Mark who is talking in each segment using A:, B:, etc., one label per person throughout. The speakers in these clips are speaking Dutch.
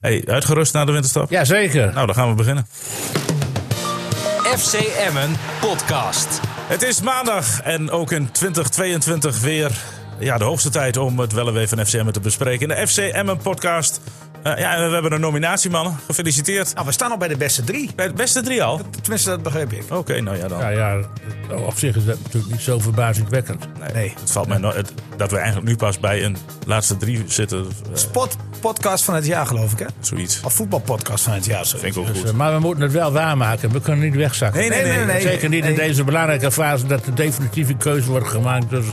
A: Hey, uitgerust na de winterstap?
B: Jazeker.
A: Nou, dan gaan we beginnen.
C: FC Emmen podcast.
A: Het is maandag en ook in 2022 weer ja, de hoogste tijd om het wel en wee van FC Emmen te bespreken. In de FC Emmen podcast. Eh, ja, en we hebben een nominatie, mannen. Gefeliciteerd.
D: Nou, we staan al bij de beste drie.
A: Bij het beste drie al. Oké,
D: Tenminste, dat begreep ik.
A: nou ja dan.
B: Ja, ja, op zich is dat natuurlijk niet zo verbazingwekkend.
D: Nou,
A: Nee, Het valt mij no- het- dat we eigenlijk nu pas bij een laatste drie zitten. eh,
D: Spot podcast van het jaar, geloof ik, hè?
A: zoiets.
D: Of voetbalpodcast van het jaar. Zo.
A: Vind ik ook
B: Dus,
A: goed.
B: eh, maar we moeten het wel waarmaken. We kunnen niet wegzakken.
A: Nee, nee, nee,
D: nee.
B: Zeker niet in
D: Nee.
B: deze belangrijke fase dat de definitieve keuze wordt gemaakt. Dus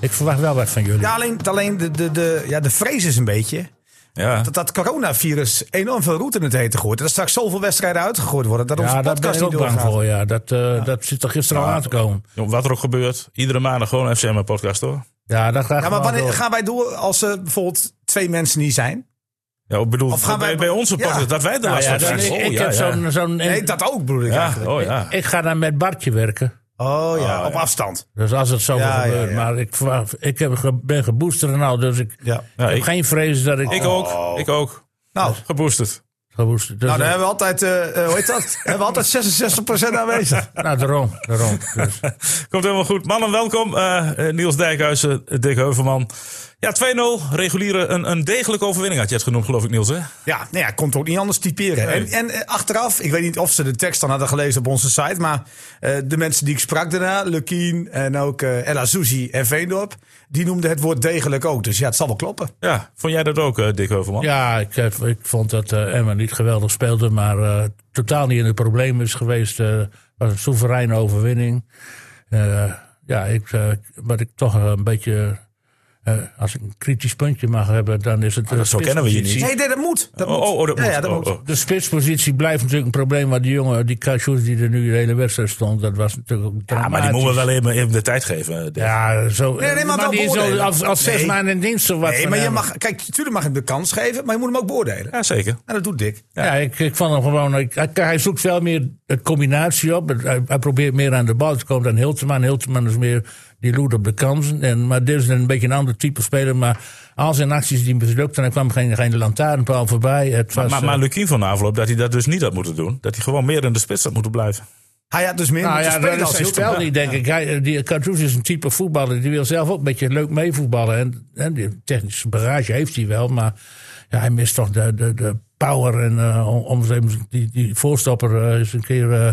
B: ik verwacht wel wat van jullie.
D: Ja, alleen, alleen de, de, de, ja, de vrees is een beetje
A: Ja.
D: dat dat coronavirus enorm veel roet in het heten gooit. En dat straks zoveel wedstrijden uitgegooid worden dat onze
B: Ja, daar ben
D: podcast
B: ik ook
D: niet
B: bang
D: doorgaat.
B: voor. Ja. Dat, eh, dat zit er gisteren al aan te komen.
A: Joh, Wat er ook gebeurt. Iedere maandag gewoon FC Emmen podcast, hoor.
B: Ja, dat gaat
D: Ja, maar
B: gewoon
D: wanneer
B: door.
D: gaan wij door als er bijvoorbeeld twee mensen niet zijn?
A: Ja, ik bedoel,
D: Of gaan
A: bij,
D: wij-
A: bij onze
D: Ja.
A: podcast, dat wij de
B: Nou
A: last
B: ja,
A: van
B: dan-
A: krijgen.
B: ik,
A: Oh,
B: ik
A: ja,
B: heb
A: ja.
B: zo'n... zo'n-
D: Nee, dat ook bedoel ik
A: Ja,
D: eigenlijk.
A: oh ja.
B: Ik ga dan met Bartje werken.
D: Oh ja,
A: Oh,
D: op
A: ja.
D: afstand.
B: Dus als het zo
D: Ja, ja,
B: gebeurt.
D: ja.
B: Maar ik, verwacht- ik heb, ge- ben gebooster en al. Dus ik
D: Ja.
A: Ja,
B: heb
A: ik,
B: geen vrees dat ik...
A: ik ook. Ik ook.
D: Nou,
A: Geboosterd.
B: Gebooster. Dus
D: nou, dan
B: eh,
D: hebben we altijd, eh, eh, hoe heet dat? hebben we altijd 66% aanwezig.
B: nou, daarom. daarom. Dus,
A: Komt helemaal goed. Mannen, welkom. Eh, eh, Niels Dijkhuizen, eh, Dick Heuvelman. Ja, 2-0. Reguliere, een, een degelijke overwinning had je het genoemd, geloof ik, Niels. Hè?
D: Ja, nou ja, komt ook niet anders typeren.
A: Nee.
D: En, en eh, achteraf, ik weet niet of ze de tekst dan hadden gelezen op onze site, maar eh, de mensen die ik sprak daarna, Lukien en ook eh Ella Susi en Veendorp, die noemden het woord degelijk ook. Dus ja, het zal wel kloppen.
A: Ja, vond jij dat ook, eh, Dick Heuvelman?
B: ja, ik, heb- ik vond dat eh, Emma niet geweldig speelde. Maar eh, totaal niet in het probleem is geweest. eh was een soevereine overwinning. Eh, ja, ik, eh, wat ik toch een beetje... eh, als ik een kritisch puntje mag hebben, dan is het... eh,
A: Ah, zo kennen we je niet.
B: spitspositie.
D: Nee, nee, dat moet. Dat
A: Oh,
D: moet.
A: oh, oh, dat
D: ja,
A: moet.
D: Ja, dat
A: Oh,
D: moet.
A: oh.
B: De spitspositie blijft natuurlijk een probleem. Maar die jongen, die Kajus die er nu de hele wedstrijd stond, dat was natuurlijk ook
A: Ja,
B: dramatisch.
A: maar die moeten we wel even, even de tijd geven. eh, Dick.
B: Ja, zo.
D: nee, maar wel
B: die is al,
D: beoordelen.
B: al, al zes
D: Nee.
B: maanden in dienst of wat.
D: Nee,
B: van
D: maar je
B: hem.
D: mag, kijk, natuurlijk mag je hem de kans geven, maar je moet hem ook beoordelen.
A: Ja, zeker.
D: En dat doet Dick.
B: Ja, ik, ik vond hem gewoon. ik- hij, hij zoekt veel meer het combinatie op. Het- Hij, hij probeert meer aan de bal te komen dan Hilteman. Hilteman is meer. Die loert op de kansen. En, maar dit is een beetje een ander type speler. Maar al zijn acties die mislukten, er kwam geen, geen lantaarnpaal voorbij. Het was,
A: Maar,
B: eh,
A: maar Lukien van de afloop, dat hij dat dus niet had moeten doen. Dat hij gewoon meer in de spits had moeten blijven.
D: Hij had dus meer
B: Nou
D: moeten
B: ja,
D: spelen
B: dat is
D: als
B: zijn
D: Hilton.
B: spel niet, denk ik. Hij, die Cartouche is een type voetballer. Die wil zelf ook een beetje leuk meevoetballen. En, en die technische barrage heeft hij wel. Maar ja, hij mist toch de, de, de power. En eh, om- om eens even die, die voorstopper eh, eens een keer eh,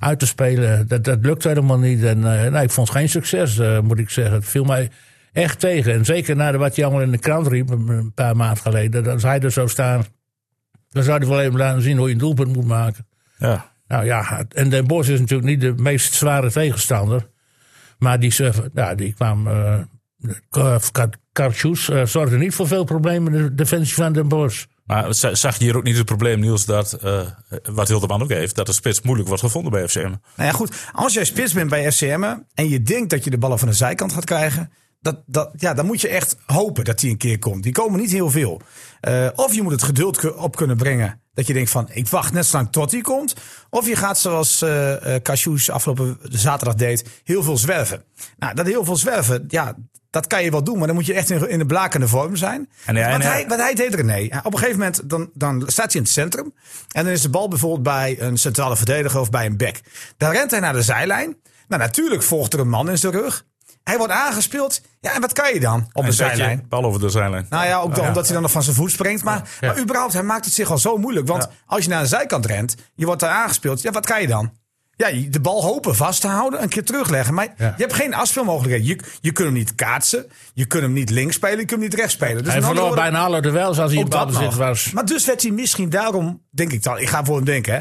B: uit te spelen. Dat, dat lukt helemaal niet. En eh, nee, ik vond het geen succes, eh, moet ik zeggen. Het viel mij echt tegen. En zeker na de- wat hij allemaal in de krant riep een paar maanden geleden. dat Als hij er zou staan, dan zou hij wel even laten zien hoe je een doelpunt moet maken.
A: Ja.
B: Nou ja, en Den Bosch is natuurlijk niet de meest zware tegenstander. Maar die, server, ja, die kwam. eh Kar- Kar- Kartjoes eh, zorgde niet voor veel problemen in de defensie van Den Bosch.
A: Maar za- zag je hier ook niet het probleem, Niels, dat, eh, wat Hildeman ook heeft, dat de spits moeilijk wordt gevonden bij FCM?
D: Nou ja, goed. Als jij spits bent bij FCM'en en je denkt dat je de ballen van de zijkant gaat krijgen. Dat, dat, ja, dan moet je echt hopen dat die een keer komt. Die komen niet heel veel. Eh, of je moet het geduld ku- op kunnen brengen. Dat je denkt van, ik wacht net zo lang tot die komt. Of je gaat zoals eh eh Cassius afgelopen zaterdag deed, heel veel zwerven. Nou, dat heel veel zwerven, ja, dat kan je wel doen. Maar dan moet je echt in, in de blakende vorm zijn.
A: En ja, en
D: Want
A: ja.
D: hij, wat hij deed René. Op een gegeven moment dan, dan staat hij in het centrum. En dan is de bal bijvoorbeeld bij een centrale verdediger of bij een back. Dan rent hij naar de zijlijn. Nou, natuurlijk volgt er een man in zijn rug. Hij wordt aangespeeld. Ja, en wat kan je dan op de
A: Een zetje,
D: zijlijn?
A: Bal over de zijlijn.
D: Nou ja, ook dan, omdat hij dan nog van zijn voet springt. Maar, maar überhaupt, hij maakt het zich al zo moeilijk. Want als je naar de zijkant rent, je wordt daar aangespeeld. Ja, wat kan je dan? Ja, je- de bal hopen, vasthouden, een keer terugleggen. Maar
B: Ja.
D: je hebt geen afspeelmogelijkheid. Je, je kunt hem niet kaatsen. Je kunt hem niet links spelen. Je kunt hem niet rechts spelen. Dus
B: hij
D: met andere
B: verloor
D: woorden-
B: bijna alle duels als hij in
D: ook dat
B: balbezit
D: nog.
B: was.
D: Maar dus werd hij misschien daarom, denk ik dan, ik ga voor hem denken, hè,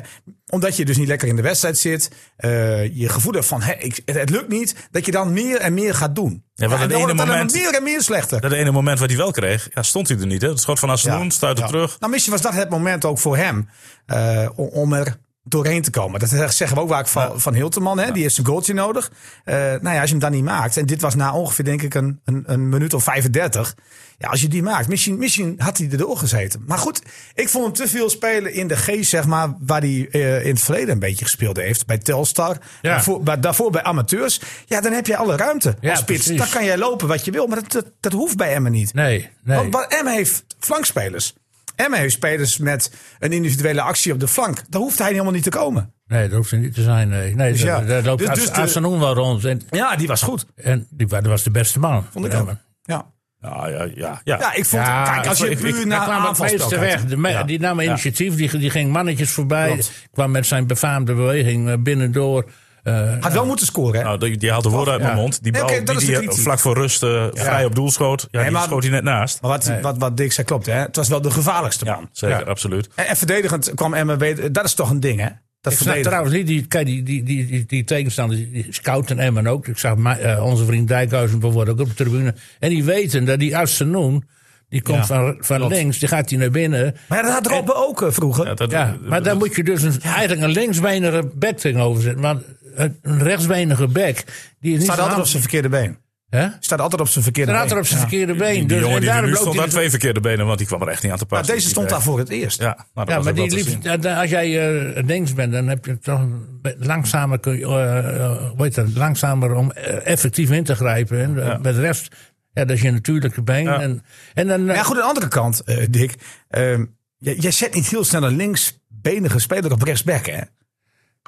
D: omdat je dus niet lekker in de wedstrijd zit, eh, je gevoel hebt van hè, ik, het, het lukt niet, dat je dan meer en meer gaat doen.
A: Ja, want
D: en
A: het
D: dan
A: ene
D: wordt het alleen
A: moment-
D: maar meer en meer slechter.
A: Dat ene moment wat hij wel kreeg, ja, stond hij er niet. Hè? Het schot van Asenoen,
D: Ja.
A: stuitte
D: Ja.
A: terug.
D: Nou, misschien was dat het moment ook voor hem eh, om, om er doorheen te komen. Dat zeggen we ook vaak van, van Hilteman. Hè? Die heeft zijn goaltje nodig. Eh, nou ja, als je hem dan niet maakt. En dit was na ongeveer denk ik een, een, een minuut of 35. Ja, als je die maakt. Misschien, misschien had hij erdoor gezeten. Maar goed, ik vond hem te veel spelen in de geest, zeg maar. Waar hij eh, in het verleden een beetje gespeeld heeft. Bij Telstar.
B: Ja.
D: Daarvoor, bij, daarvoor bij amateurs. Ja, dan heb je alle ruimte
B: Ja,
D: als spits.
B: precies.
D: Dan kan jij lopen Oh, wat je wil. Maar dat, dat, dat hoeft bij Emmen niet.
B: Nee, nee.
D: Want, want Emmen heeft flankspelers. Emma heeft spelers met een individuele actie op de flank. Daar hoeft hij helemaal niet te komen.
B: Nee, dat hoeft er niet te zijn. Nee, nee
D: Dus ja,
B: daar, daar loopt
D: dus- dus
B: dus,
D: de-
B: wel rond. En,
D: Ja, die was goed.
B: en die wa- dat was de beste man.
D: Vond ik
B: Ja,
D: ook.
B: maar-
D: Ja.
A: Ja, ja, ja. ja.
D: Ja, ik vond.
B: Ja,
D: kijk, als je
A: ik- ik-
D: puur
A: ik
D: naar
B: kwam het
D: aanvalspel
B: meeste
D: kijkt.
B: weg. De me-
A: Ja.
B: Die nam initiatief, die, die ging mannetjes voorbij.
D: Klopt.
B: Kwam met zijn befaamde beweging eh, binnendoor. Eh,
D: Had wel moeten scoren, hè?
A: Nou, die, die haalt de woorden uit mijn
B: Ja.
A: mond. Die
D: Nee,
A: bal
D: oké, dat
A: die,
D: is de
A: die
D: kritiek.
A: vlak voor rust eh, vrij op doel schoot. Ja, die
D: maar-
A: schoot hij net naast.
D: Maar wat, wat, wat Dick zei klopt, hè? Het was wel de gevaarlijkste man.
A: Ja, zeker,
B: Ja.
A: absoluut.
D: En, en verdedigend kwam Emma beter. Dat is toch een ding, hè? Dat
B: Ik snap
D: verdedigen.
B: trouwens niet, die, kijk, die, die, die, die, die tegenstanders, die scouten Emmen ook. Ik zag ma- eh, onze vriend Dijkhuizen bijvoorbeeld ook op de tribune. En die weten dat die Assenoen, die komt van, van links, die gaat die naar binnen.
D: Maar ja, dat had Robben ook eh, vroeger.
A: Ja, dat,
B: Ja, maar daar moet je dus een, eigenlijk een linksbenige back tegenover zetten. Want een een rechtsbenige back, die is niet
D: staat
B: zo
D: altijd op
B: handig.
D: zijn verkeerde been.
B: Hè?
D: Staat altijd op zijn verkeerde
B: Staat
D: been.
B: er op zijn verkeerde
A: die,
B: been.
A: die
B: Dus,
A: jongen
B: en
A: die er
B: daarom
A: nu
B: loopt
A: stond
B: hij
A: daar
B: dus-
A: twee verkeerde benen, want die kwam er echt niet aan te
D: Maar
A: passen.
D: deze
A: Die
D: stond
A: back.
D: daar voor het eerst.
A: Ja, nou, dat
B: Ja,
A: was
B: maar
A: ook
B: die
A: wel te
B: liep,
A: zien.
B: da- da- als jij eh, links bent, dan heb je toch een be- langzamer, kun je, eh, eh, hoe heet dat, langzamer om eh, effectief in te grijpen. En, eh, Met de rest, ja, dat is je natuurlijke been. En, en dan, eh,
D: Ja, goed, aan de andere kant, eh, Dick. ehm, jij, jij zet niet heel snel een linksbenige speler op rechtsback, hè?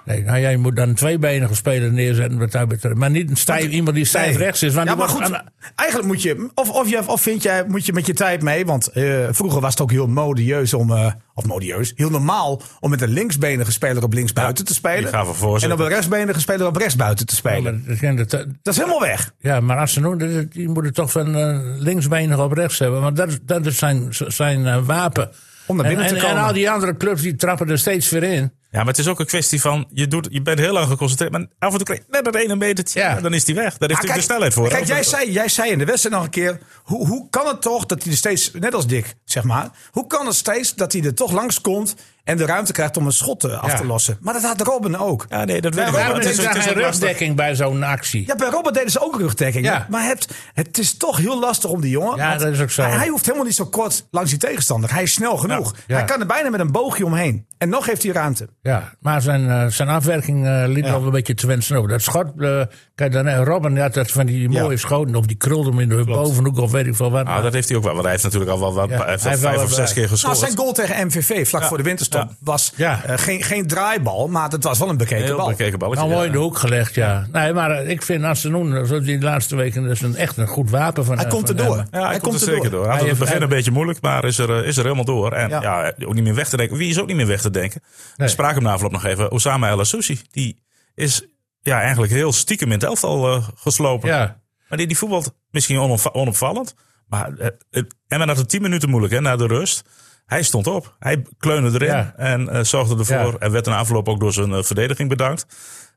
B: nee, nou, jij moet dan een tweebenige speler neerzetten, wat dat betreft. Maar niet een stijf, iemand die stijf
D: Nee.
B: rechts is. Want
D: ja,
B: die
D: maar
B: wordt
D: goed.
B: aan-
D: Eigenlijk moet je, of, of, je, of vind jij, moet je met je tijd mee. Want eh, vroeger was het ook heel modieus om, eh, of modieus, heel normaal om met een linksbenige speler op linksbuiten te spelen.
A: die gaven voorzetten.
D: En op een rechtsbenige speler op rechtsbuiten te
B: ja,
D: spelen.
B: maar dat zijn de-
D: Dat is helemaal weg.
B: Ja, maar Arsenal, die, die moeten toch van eh, linksbenig op rechts hebben. Want dat, is- dat is zijn, zijn eh, wapen.
D: Om naar binnen
B: en,
D: te
B: en,
D: komen.
B: En al die andere clubs die trappen er steeds weer in.
A: Ja, maar het is ook een kwestie van, je, doet, je bent heel lang geconcentreerd, maar af en toe krijg je net dat ene metertje,
B: Ja.
A: en dan is die weg. Daar heeft
D: Ah,
A: hij de snelheid voor.
D: Kijk,
A: hè?
D: jij zei, jij zei in de wedstrijd nog een keer. Hoe, hoe kan het toch dat hij er steeds, net als Dick, zeg maar. Hoe kan het steeds dat hij er toch langs komt en de ruimte krijgt om een schot eh, af
B: Ja.
D: te lossen? Maar dat had Robben ook.
A: Ja, nee, dat weet ik
D: Ja,
A: wel.
D: maar
B: Daarom
A: Het
B: is
A: is, het
B: daar
A: is
B: geen
A: ook lastig.
B: rugdekking bij zo'n actie.
D: Ja, bij Robben deden ze ook rugdekking.
B: Ja.
D: Maar het, het is toch heel lastig om die jongen.
B: Ja,
D: want
B: dat is ook zo.
D: Hij, hij hoeft helemaal niet zo kort langs die tegenstander. Hij is snel genoeg.
B: Ja.
D: Hij kan er bijna met een boogje omheen. En nog heeft hij ruimte.
B: Ja, maar zijn, eh, zijn afwerking eh, liet nog een beetje te wensen over. Dat schot, eh, kijk dan, eh, Robin die had dat van die mooie
D: Ja.
B: schoten. Of die krulde hem in de bovenhoek of weet ik veel wat.
A: Ah, dat heeft hij ook wel, want hij heeft natuurlijk al wel wat,
B: Ja,
A: hij heeft al
B: hij heeft wel
A: vijf
B: wat
A: of zes
B: bij.
A: keer
D: Nou,
A: gescoord.
D: zijn goal tegen MVV vlak voor de winterstop
A: Ja.
D: was
B: Ja.
D: eh, geen, geen draaibal, maar dat was wel een bekeken
A: Heel
D: bal.
A: bekeken balletje.
B: nou, mooi
A: ja.
B: in de hoek gelegd, ja. Nee, maar eh, ik vind Arsenal, zoals die laatste weken, dat is een, echt een goed wapen van
D: Hij
B: eh,
D: komt
B: van
D: erdoor.
B: Emmen.
A: Ja, hij, komt, er zeker door. Hij had het
B: Hij heeft-
A: begin een
B: hij-
A: beetje moeilijk, maar is er, eh, is er helemaal door. En
D: Ja.
A: ja. ook niet meer weg te denken. Wie is ook niet meer weg te denken?
B: Nee.
A: We spraken hem na afloop nog even. Osama El Asousi. Die is ja, eigenlijk heel stiekem in het elftal eh, geslopen.
B: Ja.
A: Maar die, die voetbalt misschien onopva- onopvallend. Maar eh, eh, Emmen had het tien minuten moeilijk hè, na de rust. Hij stond op. Hij kleunde erin
B: Ja.
A: en eh, zorgde ervoor.
B: Ja.
A: En werd in afloop ook door zijn eh, verdediging bedankt.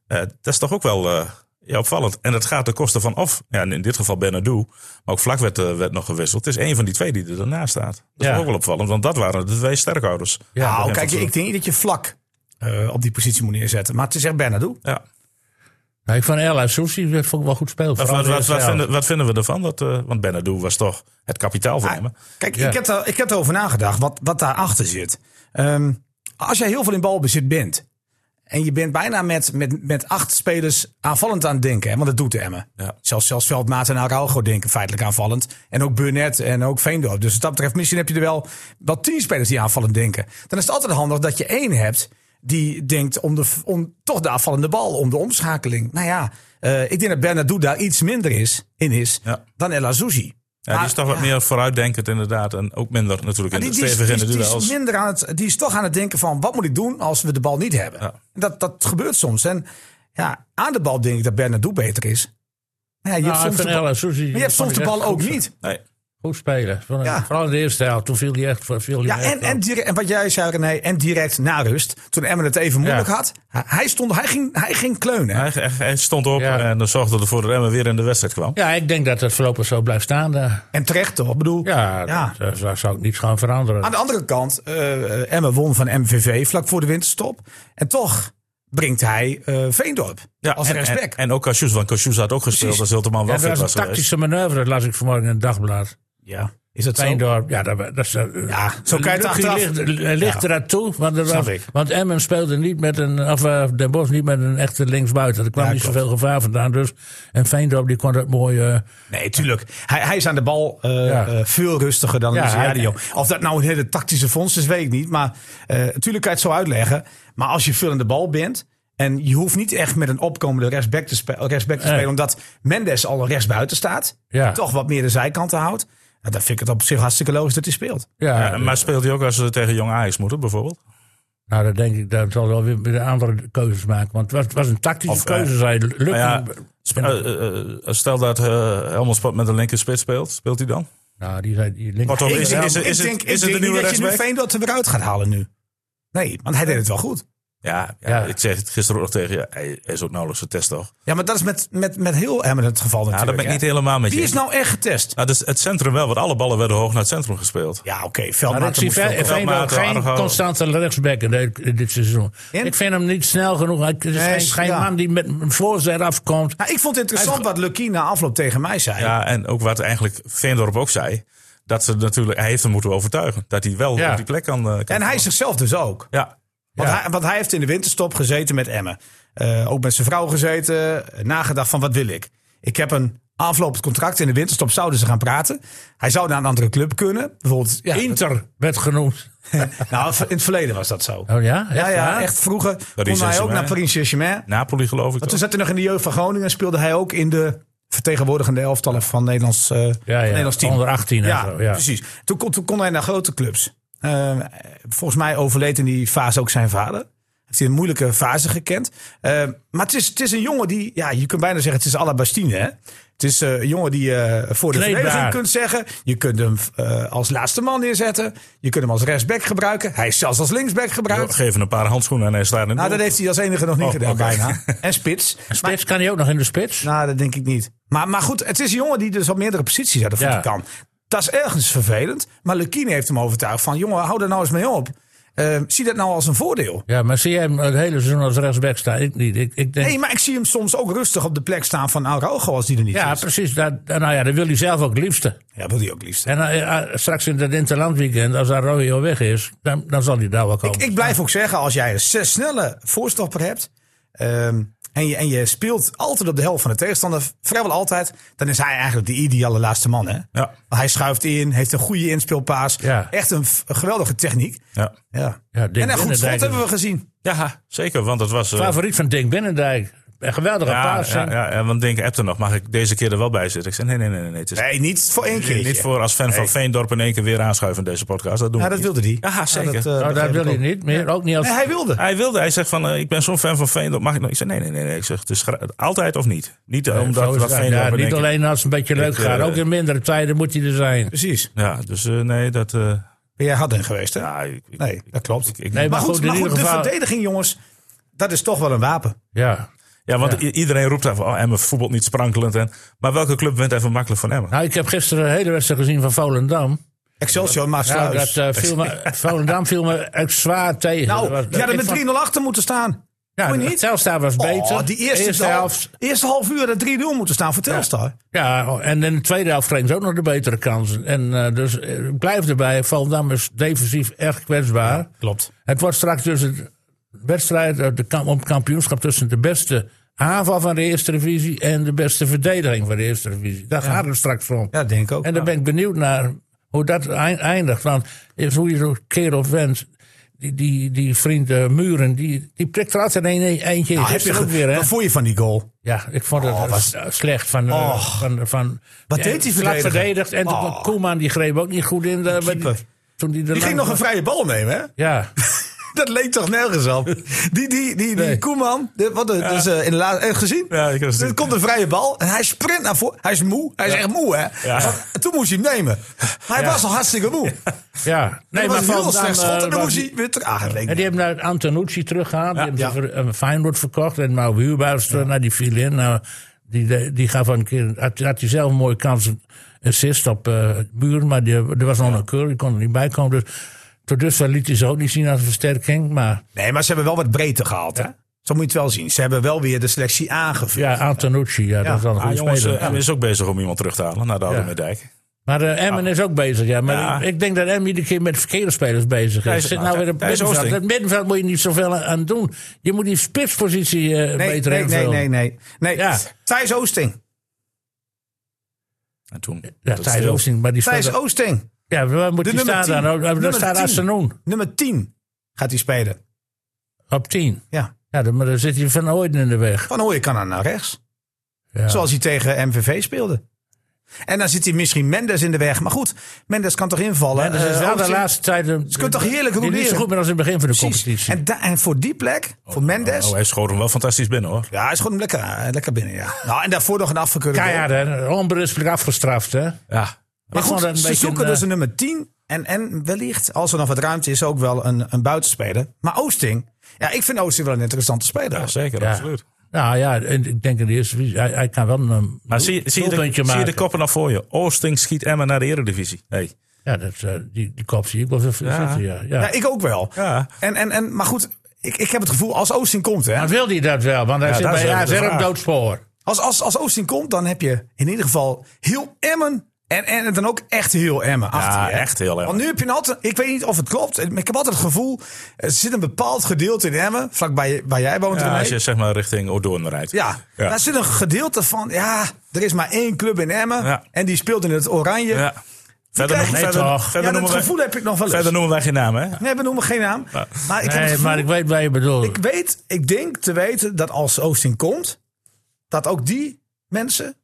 A: Eh, dat is toch ook wel eh, ja, opvallend. En dat gaat ten koste van of, ja, in dit geval Bernardo. Maar ook Vlak werd, eh, werd nog gewisseld. Het is één van die twee die er daarnaast staat. Dat is
B: Ja.
A: toch ook wel opvallend, want dat waren de twee sterkhouders.
B: Ja,
D: nou,
A: dat
D: kijk,
A: heeft het
D: ik denk niet dat je vlak eh, op die positie moet neerzetten. Maar het is echt Bernardo.
A: Ja.
B: Nou, ik vond Ella Soussi vond ik wel goed spelen.
A: Wat,
B: Vooral
A: wat,
B: de
A: wat,
B: eerste
A: wat
B: helft.
A: vinden, wat vinden we ervan? Dat, eh, want Bernardo was toch het kapitaal van
D: Ah,
A: Emmen.
D: Kijk,
B: Ja.
D: ik, heb daar, ik heb erover nagedacht wat, wat daarachter zit. Ehm, als jij heel veel in balbezit bent. En je bent bijna met, met, met acht spelers aanvallend aan het denken. Hè, want dat doet Emmen.
A: Ja.
D: Zelfs, zelfs Veldmaat en Araujo denken feitelijk aanvallend. En ook Burnett en ook Veendorp. Dus wat dat betreft, misschien heb je er wel, wel tien spelers die aanvallend denken. Dan is het altijd handig dat je één hebt die denkt om, de, om toch de aanvallende bal, om de omschakeling. Nou ja, eh, ik denk dat Bernardo daar iets minder is, in is
A: Ja.
D: dan El Azouzi.
A: Ja, die is toch wat meer vooruitdenkend inderdaad. En ook minder natuurlijk in
D: Ah, Die,
A: de
D: die, is-
A: stevige in de
D: die is- die is
A: duels.
D: minder aan het, die is toch aan het denken van wat moet ik doen als we de bal niet hebben.
A: Ja.
D: Dat, dat gebeurt soms. En ja, aan de bal denk ik dat Bernardo beter is. Maar Ja, je
B: Nou,
D: hebt
B: ik
D: soms
B: vind
D: de bal,
B: El Azouzzi-
D: maar je hebt soms
B: vond
D: de
B: ik
D: bal
B: echt
D: ook
B: goed-
D: niet.
A: Nee.
B: Goed spelen. Vond ik-
D: Ja.
B: Vooral in de eerste helft. Toen viel hij echt. Viel hij
D: Ja,
B: echt
D: en,
B: wel.
D: en, direct, en wat jij zei René, en direct na rust, toen Emmen het even moeilijk
B: Ja.
D: had. hij- Hij, stond, hij, ging, hij ging kleunen.
A: Hij, hij- hij stond op
B: Ja.
A: en dan zorgde ervoor dat Emmen weer in de wedstrijd kwam.
B: Ja, ik denk dat het voorlopig zo blijft staan. eh. daar.
D: En terecht toch, ik bedoel.
B: Ja,
D: Ja. Ah,
B: Dat, eh, daar zou ik niets gaan veranderen.
D: Aan de andere kant, eh Emmen won van MVV vlak voor de winterstop. En toch brengt hij eh, Veendorp als
A: en, en,
D: rechtsback.
A: en ook Cassius, want Cassius had ook gespeeld
D: Precies.
A: als Hilterman
B: Ja,
A: wel
B: dat
A: fit
B: was
A: was
B: een
A: geweest.
B: tactische manoeuvre. Dat las ik vanmorgen in het dagblad.
D: Ja. Is dat zo?
B: Veendorp, ja, dat, dat is... eh,
D: Ja, zo kan je het
B: Lucky
D: achteraf.
B: ligt, ligt
D: Ja.
B: eraan toe, want, er
D: Snap
B: was-
D: ik.
B: want Emmen speelde niet met een, of eh, Den Bosch niet met een echte linksbuiten. Er kwam
D: Ja,
B: niet
D: klopt.
B: zoveel gevaar vandaan. Dus, en Veendorp die kon dat mooi... eh,
D: Nee, tuurlijk. Hij, hij is aan de bal eh,
B: Ja.
D: eh, veel rustiger dan
B: Ja,
D: ja,
B: hij-
D: Of dat nou een hele tactische fonds is, weet ik niet. Maar eh, natuurlijk kan je het zo uitleggen. Maar als je veel aan de bal bent... en je hoeft niet echt met een opkomende rechtsback te, spe- rechtsback te
B: Nee.
D: spelen... omdat Mendes al rechtsbuiten staat.
B: Ja.
D: Toch wat meer de zijkanten houdt. Nou, dan vind ik het op zich hartstikke logisch dat hij speelt.
B: ja,
A: Ja, maar speelt hij ook als ze tegen Jong Ajax moeten, bijvoorbeeld?
B: Nou, dat denk ik, dat zal wel weer weer andere keuzes maken. Want het was, het was een tactische
A: Of, eh,
B: keuze, zei Lucky.
A: Nou ja, sp-
B: ben ik-
A: eh, eh, eh, stel dat eh Helmond Sport met een linker spits speelt, speelt hij dan?
B: nou, die zei... Die links-
A: Kortom,
B: Ik-
A: is-
B: ja,
A: is-
D: ik denk,
A: het- is
D: ik
A: het
D: denk
A: de nieuwe
D: niet dat je nu
A: rechtsback?
D: Veendorp er weer uit gaat halen nu. Nee, want hij deed het wel goed.
A: Ja, ja,
B: Ja.
A: ik zeg het gisteren ook nog tegen je. Hij hij is ook nauwelijks getest, toch?
D: Ja, maar dat is met, met, met heel Emmen het geval
A: Ja, dat
D: natuurlijk.
A: ben ik niet
D: hè.
A: helemaal met je.
D: Wie is nou echt getest?
A: Nou, dus het centrum wel, want alle ballen werden hoog naar het centrum gespeeld.
D: Ja, oké.
B: Maar ik
D: Veldmaat
B: zie
D: moest
B: Ve-
D: wel komen.
B: Veendorp
A: Veldmaten,
B: geen
A: Argo.
B: constante rechtsback in dit, in dit seizoen.
D: En?
B: Ik vind hem niet snel genoeg. Hij het is
D: Nee,
B: geen, geen
D: ja.
B: man die met een voorzet afkomt.
D: Nou, ik vond het interessant wat Lucky na afloop tegen mij zei.
A: Ja, en ook wat eigenlijk Veendorp ook zei. Dat ze natuurlijk, hij heeft hem moeten overtuigen. Dat hij wel
B: Ja.
A: op die plek kan. eh, kan
D: En hij zichzelf dus ook.
A: ja.
D: Want,
B: Ja.
D: hij, want hij heeft in de winterstop gezeten met Emmen. Eh, ook met zijn vrouw gezeten. eh, Nagedacht van wat wil ik. Ik heb een aflopend contract. In de winterstop zouden ze gaan praten. Hij zou naar een andere club kunnen. Bijvoorbeeld ja,
B: Inter werd genoemd.
D: nou, in het verleden was dat zo.
B: Oh ja? Echt
D: Ja, ja,
B: waar?
D: echt vroeger kon hij ook
A: Saint-Germain.
D: naar Paris Saint-Germain.
A: Napoli geloof ik
D: Maar toen
A: toch?
D: zat hij nog in de jeugd van Groningen. En speelde hij ook in de vertegenwoordigende elftallen van Nederlands, eh, van
B: ja.
D: Nederlands team.
B: Onder 18 en
D: Ja,
B: zo, ja.
D: precies. Toen kon, toen kon hij naar grote clubs. Eh, volgens mij overleed in die fase ook zijn vader. Heeft hij een moeilijke fase gekend. Eh, maar het is, het is een jongen die, ja, je kunt bijna zeggen, het is à la Bastine. Hè? Het is eh, een jongen die je voor de
B: Kleedbaar.
D: verdediging kunt zeggen. Je kunt hem eh, als laatste man neerzetten. Je kunt hem als rechtsback gebruiken. Hij is zelfs als linksback
A: Geef
D: gebruikt.
A: Geven een paar handschoenen en hij staat in
D: Nou,
A: de
D: dat heeft hij als enige nog niet
A: Oh,
D: gedaan
A: oké.
D: bijna. En spits. Maar-
B: Spits kan hij ook nog in de spits?
D: nou, dat denk ik niet. Maar, maar goed, het is een jongen die dus op meerdere posities uit de voeten
B: Ja.
D: kan. Dat is ergens vervelend. Maar Lukine heeft hem overtuigd van... jongen, hou er nou eens mee op. Eh, zie dat nou als een voordeel.
B: Ja, maar zie jij hem het hele seizoen als rechtsback staan? Ik niet. Ik, ik denk,
D: Nee, maar ik zie hem soms ook rustig op de plek staan van Araujo als die er niet
B: ja,
D: is.
B: precies. Dat, nou ja, dat wil hij zelf ook het liefste.
D: Ja, wil hij ook liefst.
B: En eh, eh, straks in dat interlandweekend, als Arroyo weg is, dan, dan zal hij daar wel komen.
D: Ik, ik blijf ook zeggen, als jij een zes snelle voorstopper hebt... ehm, en, je, en je speelt altijd op de helft van de tegenstander... vrijwel altijd, dan is hij eigenlijk de ideale laatste man. Hè?
A: Ja.
D: Hij schuift in, heeft een goede inspeelpaas.
B: Ja.
D: Echt een, f- een geweldige techniek.
A: Ja.
D: Ja.
B: Ja, Dick
D: en een goed
B: Binnendijk
D: schot
B: is-
D: hebben we gezien.
A: ja, zeker. Want dat was. eh,
B: Favoriet van Dink Binnendijk. Een geweldige
A: ja,
B: paas. hè?
A: ja, ja, ja, want denk appte nog, mag ik deze keer er wel bij zitten? Ik zei nee, nee, nee, nee. nee, Het is
D: Nee, niet voor één keer.
A: niet voor als fan van Veendorp in één keer weer aanschuiven in deze podcast. Dat doen
D: Ja,
A: we
D: dat
A: niet.
D: wilde hij.
A: Ja, zeker.
D: eh,
B: Nou,
D: begreep
B: dat
D: ik
B: wil hij
D: ook.
B: niet meer. Ook niet als...
D: Nee, hij wilde.
A: Hij wilde, hij zegt van, eh, ik ben zo'n fan van Veendorp, mag ik nog? Ik zei nee, nee, nee. nee. Ik zeg, het is gra- altijd of niet. Niet eh,
B: Zo
A: omdat wat
B: is dat.
A: Veendorp
B: Ja,
A: in één
B: niet
A: keer-
B: alleen als het een beetje leuk
A: Ik,
B: gaat.
A: eh,
B: Ook in mindere tijden moet hij er zijn.
D: Precies.
A: Ja, dus eh, nee, dat... eh,
D: Ben jij Hadding geweest, hè?
A: ja, ik- ik-
D: Nee, dat klopt.
A: ik- ik-
B: Nee,
D: maar goed,
B: in
D: maar goed
B: ieder
D: de
B: geval-
D: verdediging, jongens. Dat is toch wel een wapen.
B: Ja.
A: Ja, want i- iedereen roept daar van, oh, Emmen voetbalt niet sprankelend. En, maar welke club wint even makkelijk van Emmen?
B: Nou, ik heb gisteren een hele wedstrijd gezien van Volendam.
D: Excelsior, maar
B: Nou,
D: sluis.
B: dat, eh, viel me, Volendam viel me echt zwaar tegen. Dat was-
D: nou, je had
B: ik
D: er met
B: vond-
D: 3-0 achter moeten staan.
B: ja,
D: Moet je niet?
B: Telstar was beter.
D: Oh, die eerste,
B: helft.
D: half, eerste half uur dat 3-0 moeten staan voor Telstar.
B: Ja, oh, en in de tweede helft kregen ze ook nog de betere kansen. En eh, dus eh, ik blijf erbij. Volendam is defensief erg kwetsbaar.
D: Klopt.
B: Het wordt straks dus een wedstrijd eh, de kamp, om het kampioenschap tussen de beste aanval van de eerste divisie en de beste verdediging van de eerste divisie. Daar gaat het straks om.
D: Ja, dat denk ik ook.
B: En daar ben ik benieuwd naar hoe dat eind- eindigt. Want is hoe je zo'n kerel wenst. Die, die, die vriend eh, Muren, die, die prikt er altijd een, een- eentje in.
D: Nou, heb je
B: Gisteren ook
D: ge-
B: weer, hè?
D: Wat vond je van die goal?
B: Ja, ik vond het
D: Oh, was-
B: s- slecht van... eh,
D: Och.
B: van, van
D: Wat
B: ja,
D: deed die
B: vlak
D: verdediger?
B: verdedigd. En toen-
D: Oh.
B: Koeman die greep ook niet goed in. De,
D: keeper.
B: toen die de
D: Die ging nog een vrije bal nemen, hè?
B: Ja,
D: Dat leek toch nergens op. Die, die, die, die
B: Nee.
D: Koeman, de- wat de- dus, eh, in de laatste, eh, gezien?
A: Ja, ik heb het
D: er
A: gezien.
D: komt een vrije bal en hij sprint naar voren. Hij is moe, hij is echt moe hè.
A: Ja.
D: Want Toen moest hij hem nemen. Maar hij was al hartstikke moe.
B: ja.
D: Nee, maar was heel
B: Volendam,
D: slecht schot
B: eh,
D: en dan
B: was-
D: moest hij weer terug. Ah, het leek
B: En die hebben naar Antonucci teruggehaald. die hebben
D: ja.
B: ze ver, een Feyenoord verkocht. En nou Huurbaars, nou, die viel in. Nou, die, die, die gaf een keer, had, had hij zelf een mooie kans, een assist op eh Buren. Maar die, er was nog een keur, die kon er niet bij komen. Dus tot dusver liet hij ze ook niet zien als een versterking. Maar
D: Nee, maar ze hebben wel wat breedte gehaald. Hè? Zo moet je het wel zien. Ze hebben wel weer de selectie aangevuld.
B: ja, Antonucci, ja, dat is wel een
A: Ah,
B: goede
A: jongens,
B: speler.
D: eh,
A: eh, Emmen is ook bezig om iemand terug te halen naar de oude
B: Ja.
A: Meerdijk.
B: Maar eh,
D: Ah.
B: Emmen is ook bezig, ja. Maar
A: Ja.
B: Ik, ik denk dat Emmen iedere keer met verkeerde spelers bezig
A: Thijs-
B: is. Zit
D: ah,
B: nou weer op
A: Thijs
B: middenveld.
A: Oosting.
B: Het middenveld moet je niet zoveel aan doen. Je moet die spitspositie eh,
D: Nee,
B: beter
D: nee, nee,
B: invullen.
D: nee, nee. nee.
B: Ja.
D: Thijs Oosting.
A: En toen.
B: Ja,
A: dat
B: Thijs
A: stil.
B: Oosting, maar die
D: Thijs
B: staat-
D: Oosting.
B: Ja, waar moet
D: De
B: die
D: nummer
B: staan
D: 10.
B: dan? Oh, Daar
D: Nummer
B: staat
D: 10.
B: Asenoen
D: Nummer 10 gaat hij spelen.
B: op 10.
D: Ja.
B: Ja, dan- maar dan zit hij van ooit in de weg.
D: Van Hooyen kan dan naar rechts.
B: Ja.
D: Zoals hij tegen MVV speelde. En dan zit hij misschien Mendes in de weg. Maar goed, Mendes kan toch invallen.
B: Ja, dat is
D: Eh,
B: wel de
D: Oosting-
B: laatste tijd. Ze
D: kunnen toch heerlijk
B: Niet zo
D: roleren?
B: goed meer als in het begin van de
D: Precies.
B: competitie.
D: En, da- en voor die plek, voor Mendes.
A: Oh,
B: eh.
A: hij schoot hem wel fantastisch binnen hoor.
D: Ja, hij is gewoon lekker, eh, lekker binnen. Ja. Nou, en daarvoor nog een afgekeurde goal.
B: Keihard, hè? Onberispelijk afgestraft, hè?
A: Ja.
D: Maar
B: Ik vond dat
D: goed,
B: een
D: ze
B: beetje
D: zoeken
B: een,
D: dus
B: eh,
D: een nummer 10. En, en wellicht, als er nog wat ruimte is, ook wel een, een buitenspeler. Maar Oosting, ja, ik vind Oosting wel een interessante speler.
A: Ja, zeker,
B: Ja.
A: absoluut.
B: Nou ja, en ik denk in de eerste divisie, Hij, hij kan wel een
A: Maar zie, zie, je de,
B: doelpuntje
A: zie je
B: maken.
A: de koppen nog voor je? Oosting schiet Emmen naar de Eredivisie. Hey.
B: Ja, dat, eh, die, die kop zie ik wel zitten, ja. ja.
D: Ja, ik ook wel.
A: Ja.
D: En, en, en, maar goed, ik, ik heb het gevoel, als Oosting komt, hè,
B: Maar wil hij dat wel? Want hij
A: Ja,
B: zit
A: dat is
B: bij
A: wel de
B: AZ op
A: vraag.
B: doodspoor.
D: als, als, als Oosting komt, dan heb je in ieder geval heel Emmen. En, en dan ook echt heel Emmen. achter je, hè.
A: echt heel Emmen.
D: Want nu heb je altijd, ik weet niet of het klopt, maar ik heb altijd het gevoel, er zit een bepaald gedeelte in Emmen, vlakbij waar jij woont.
A: Ja,
D: René.
A: als je zeg maar richting Oordoorn rijdt.
D: Ja, daar zit een gedeelte van. Ja, er is maar één club in Emmen.
A: Ja.
D: En die speelt in het oranje.
A: Ja. Verder,
D: krijg
A: noemen-
D: je
A: verder,
B: toch.
A: verder,
D: Ja, dat
A: noemen wij,
D: gevoel heb ik nog wel eens.
A: verder noemen wij geen naam, hè?
D: Nee, we noemen geen naam. Maar ik, heb het
B: Nee,
D: gevoel-
B: maar ik weet wat je bedoelt.
D: ik weet, ik denk te weten dat als Oosting komt, dat ook die mensen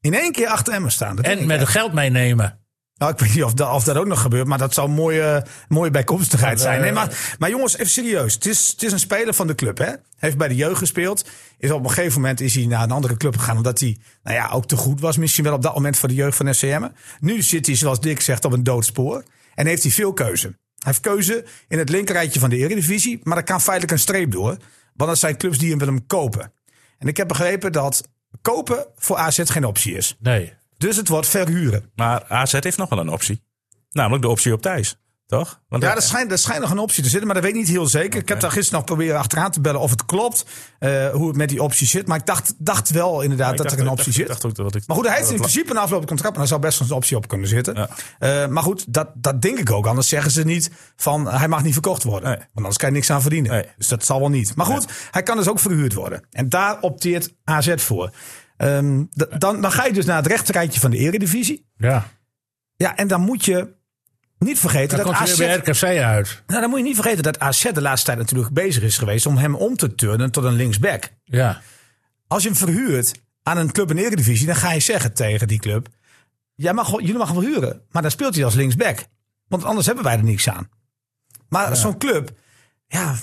D: in één keer achter Emmen staan. Dat denk
B: en
D: ik,
B: met
D: ja.
B: het geld meenemen.
D: Nou, ik weet niet of dat, of dat ook nog gebeurt, maar dat zou een mooie, mooie bijkomstigheid
B: Ja,
D: zijn. Nee,
B: eh,
D: maar, maar jongens, even serieus. Het is, het is een speler van de club, hè? Heeft bij de jeugd gespeeld. Is op een gegeven moment is hij naar een andere club gegaan, omdat hij, nou ja, ook te goed was. Misschien wel op dat moment voor de jeugd van SCM. Nu zit hij, zoals Dick zegt, op een doodspoor. En heeft hij veel keuze. Hij heeft keuze in het linkerrijtje van de Eredivisie, maar daar kan feitelijk een streep door. Want dat zijn clubs die hem willen kopen. En ik heb begrepen dat kopen voor AZ geen optie is.
B: Nee.
D: Dus het wordt verhuren.
A: Maar AZ heeft nog wel een optie. Namelijk de optie op Thijs. Toch? Want
D: Ja, er schijnt, er schijnt nog een optie te zitten, maar dat weet ik niet heel zeker. Ik heb daar gisteren nog proberen achteraan te bellen of het klopt. eh, hoe het met die optie zit. Maar ik dacht, dacht wel inderdaad
A: Ik
D: dat
A: dacht-
D: er een
A: ik
D: optie
A: dacht- ik
D: zit.
A: dacht ook dat ik-
D: maar goed, hij heeft
A: dat
D: in
A: het
D: principe een aflopend contract. Maar daar zou best wel een optie op kunnen zitten.
A: Ja.
D: Eh, maar goed, dat, dat denk ik ook. Anders zeggen ze niet van eh, hij mag niet verkocht worden.
A: Nee.
D: Want anders kan je niks aan verdienen.
A: Nee.
D: Dus dat zal wel niet. Maar goed, hij kan dus ook verhuurd worden. En daar opteert AZ voor. Ehm, d- dan, dan ga je dus naar het rechterrijtje van de eredivisie.
B: Ja.
D: Ja, en dan moet je niet vergeten
B: Dan
D: dat
B: komt hij
D: AZ...
B: weer bij RKC uit.
D: Nou, dan moet je niet vergeten dat AZ de laatste tijd natuurlijk bezig is geweest om hem om te turnen tot een linksback.
B: Ja.
D: Als je hem verhuurt aan een club in de Eredivisie, dan ga je zeggen tegen die club: Jij mag, jullie mag hem verhuren, maar dan speelt hij als linksback. Want anders hebben wij er niks aan. Maar zo'n club, ja,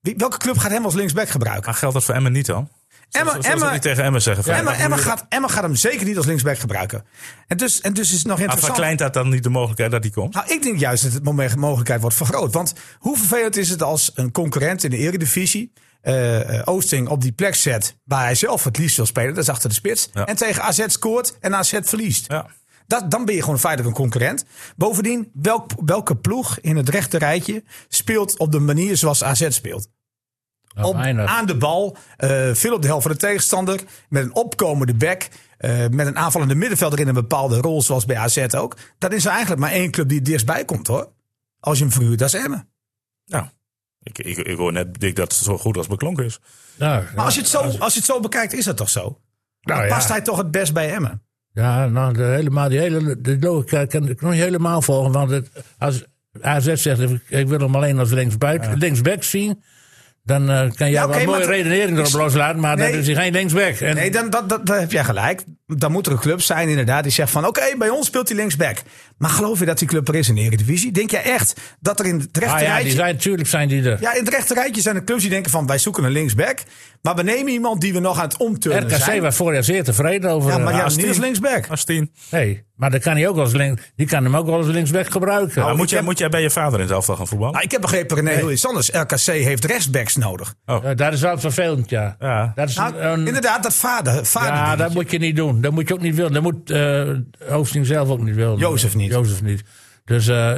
D: wie- welke club gaat hem als linksback gebruiken?
A: Maar geldt dat voor Emmen niet dan?
D: Emma,
A: Zullen we
D: Emma,
A: dat niet tegen Emmen zeggen? Van,
D: Emma,
A: ja,
D: Emma, gaat, Emma gaat hem zeker niet als linksback gebruiken. En dus, en dus is het nog
A: maar
D: interessant.
A: verkleint dat dan niet de mogelijkheid dat die komt?
D: Nou, ik denk juist dat het moment- mogelijkheid wordt vergroot. Want hoe vervelend is het als een concurrent in de eredivisie eh, eh, Oosting op die plek zet waar hij zelf het liefst wil spelen, dat is achter de spits.
A: Ja.
D: En tegen AZ scoort en AZ verliest.
A: Ja.
D: Dat, dan ben je gewoon feitelijk een concurrent. Bovendien, welk, welke ploeg in het rechte rijtje speelt op de manier zoals AZ speelt?
B: Nou,
D: Op-
B: weinig.
D: aan de bal, eh, veel op de helft van de tegenstander, met een opkomende back, eh, met een aanvallende middenvelder in een bepaalde rol, zoals bij AZ ook. Dat is er eigenlijk maar één club die het dichtstbij komt hoor. Als je hem verhuurt, dat is Emmen.
A: Nou, ik, ik, ik hoor net Dick dat het zo goed als beklonken is.
B: Nou,
D: Maar als
B: ja.
D: je, het zo, als je het zo bekijkt, is dat toch zo?
B: Nou, ja.
D: Past hij toch het best bij Emmen?
B: Ja, nou, de helemaal, die hele de logica kan ik nog niet helemaal volgen. Want het, als AZ zegt, ik, ik wil hem alleen als linksbuit, linksback zien... dan eh, kan jij
D: Ja, oké,
B: wel mooie
D: maar-
B: redenering erop loslaten... maar
D: Nee.
B: dan is hij geen linksback. En,
D: Nee, dan, dat, dat, daar heb jij gelijk. Dan moet er een club zijn inderdaad die zegt van... oké, bij ons speelt hij linksback. Maar geloof je dat die club er is in de Eredivisie? Denk jij echt dat er in het
B: ah ja, die
D: rechterrijtje...
B: zijn, natuurlijk zijn die er.
D: ja, in het rechterrijtje zijn er clubs die denken van... wij zoeken een linksback, maar we nemen iemand die we nog aan het omturnen
B: RKC
D: zijn.
B: was vorig jaar zeer tevreden over.
D: Ja,
B: eh,
D: maar ja, Oh, niet
A: Astien.
D: als linksback.
A: Als tien.
B: nee, maar dan kan hij ook als link, die kan hem ook wel als linksback gebruiken.
A: Maar moet, jij,
D: heb-
A: moet jij bij je vader in het elftal gaan voetballen?
D: Nou, ik heb begrepen, René, heel iets anders. RKC heeft rechtsbacks nodig.
B: Ja, dat Eh, is wel vervelend, ja.
A: Ja.
B: Dat is
D: Nou,
B: een- een-
D: inderdaad, dat vader... vader
B: ja, dat
D: dingetje.
B: moet je niet doen. Dat moet je ook niet willen. Dat moet eh Oosting zelf ook niet willen.
D: Jozef niet.
B: Jozef niet. Dus, eh,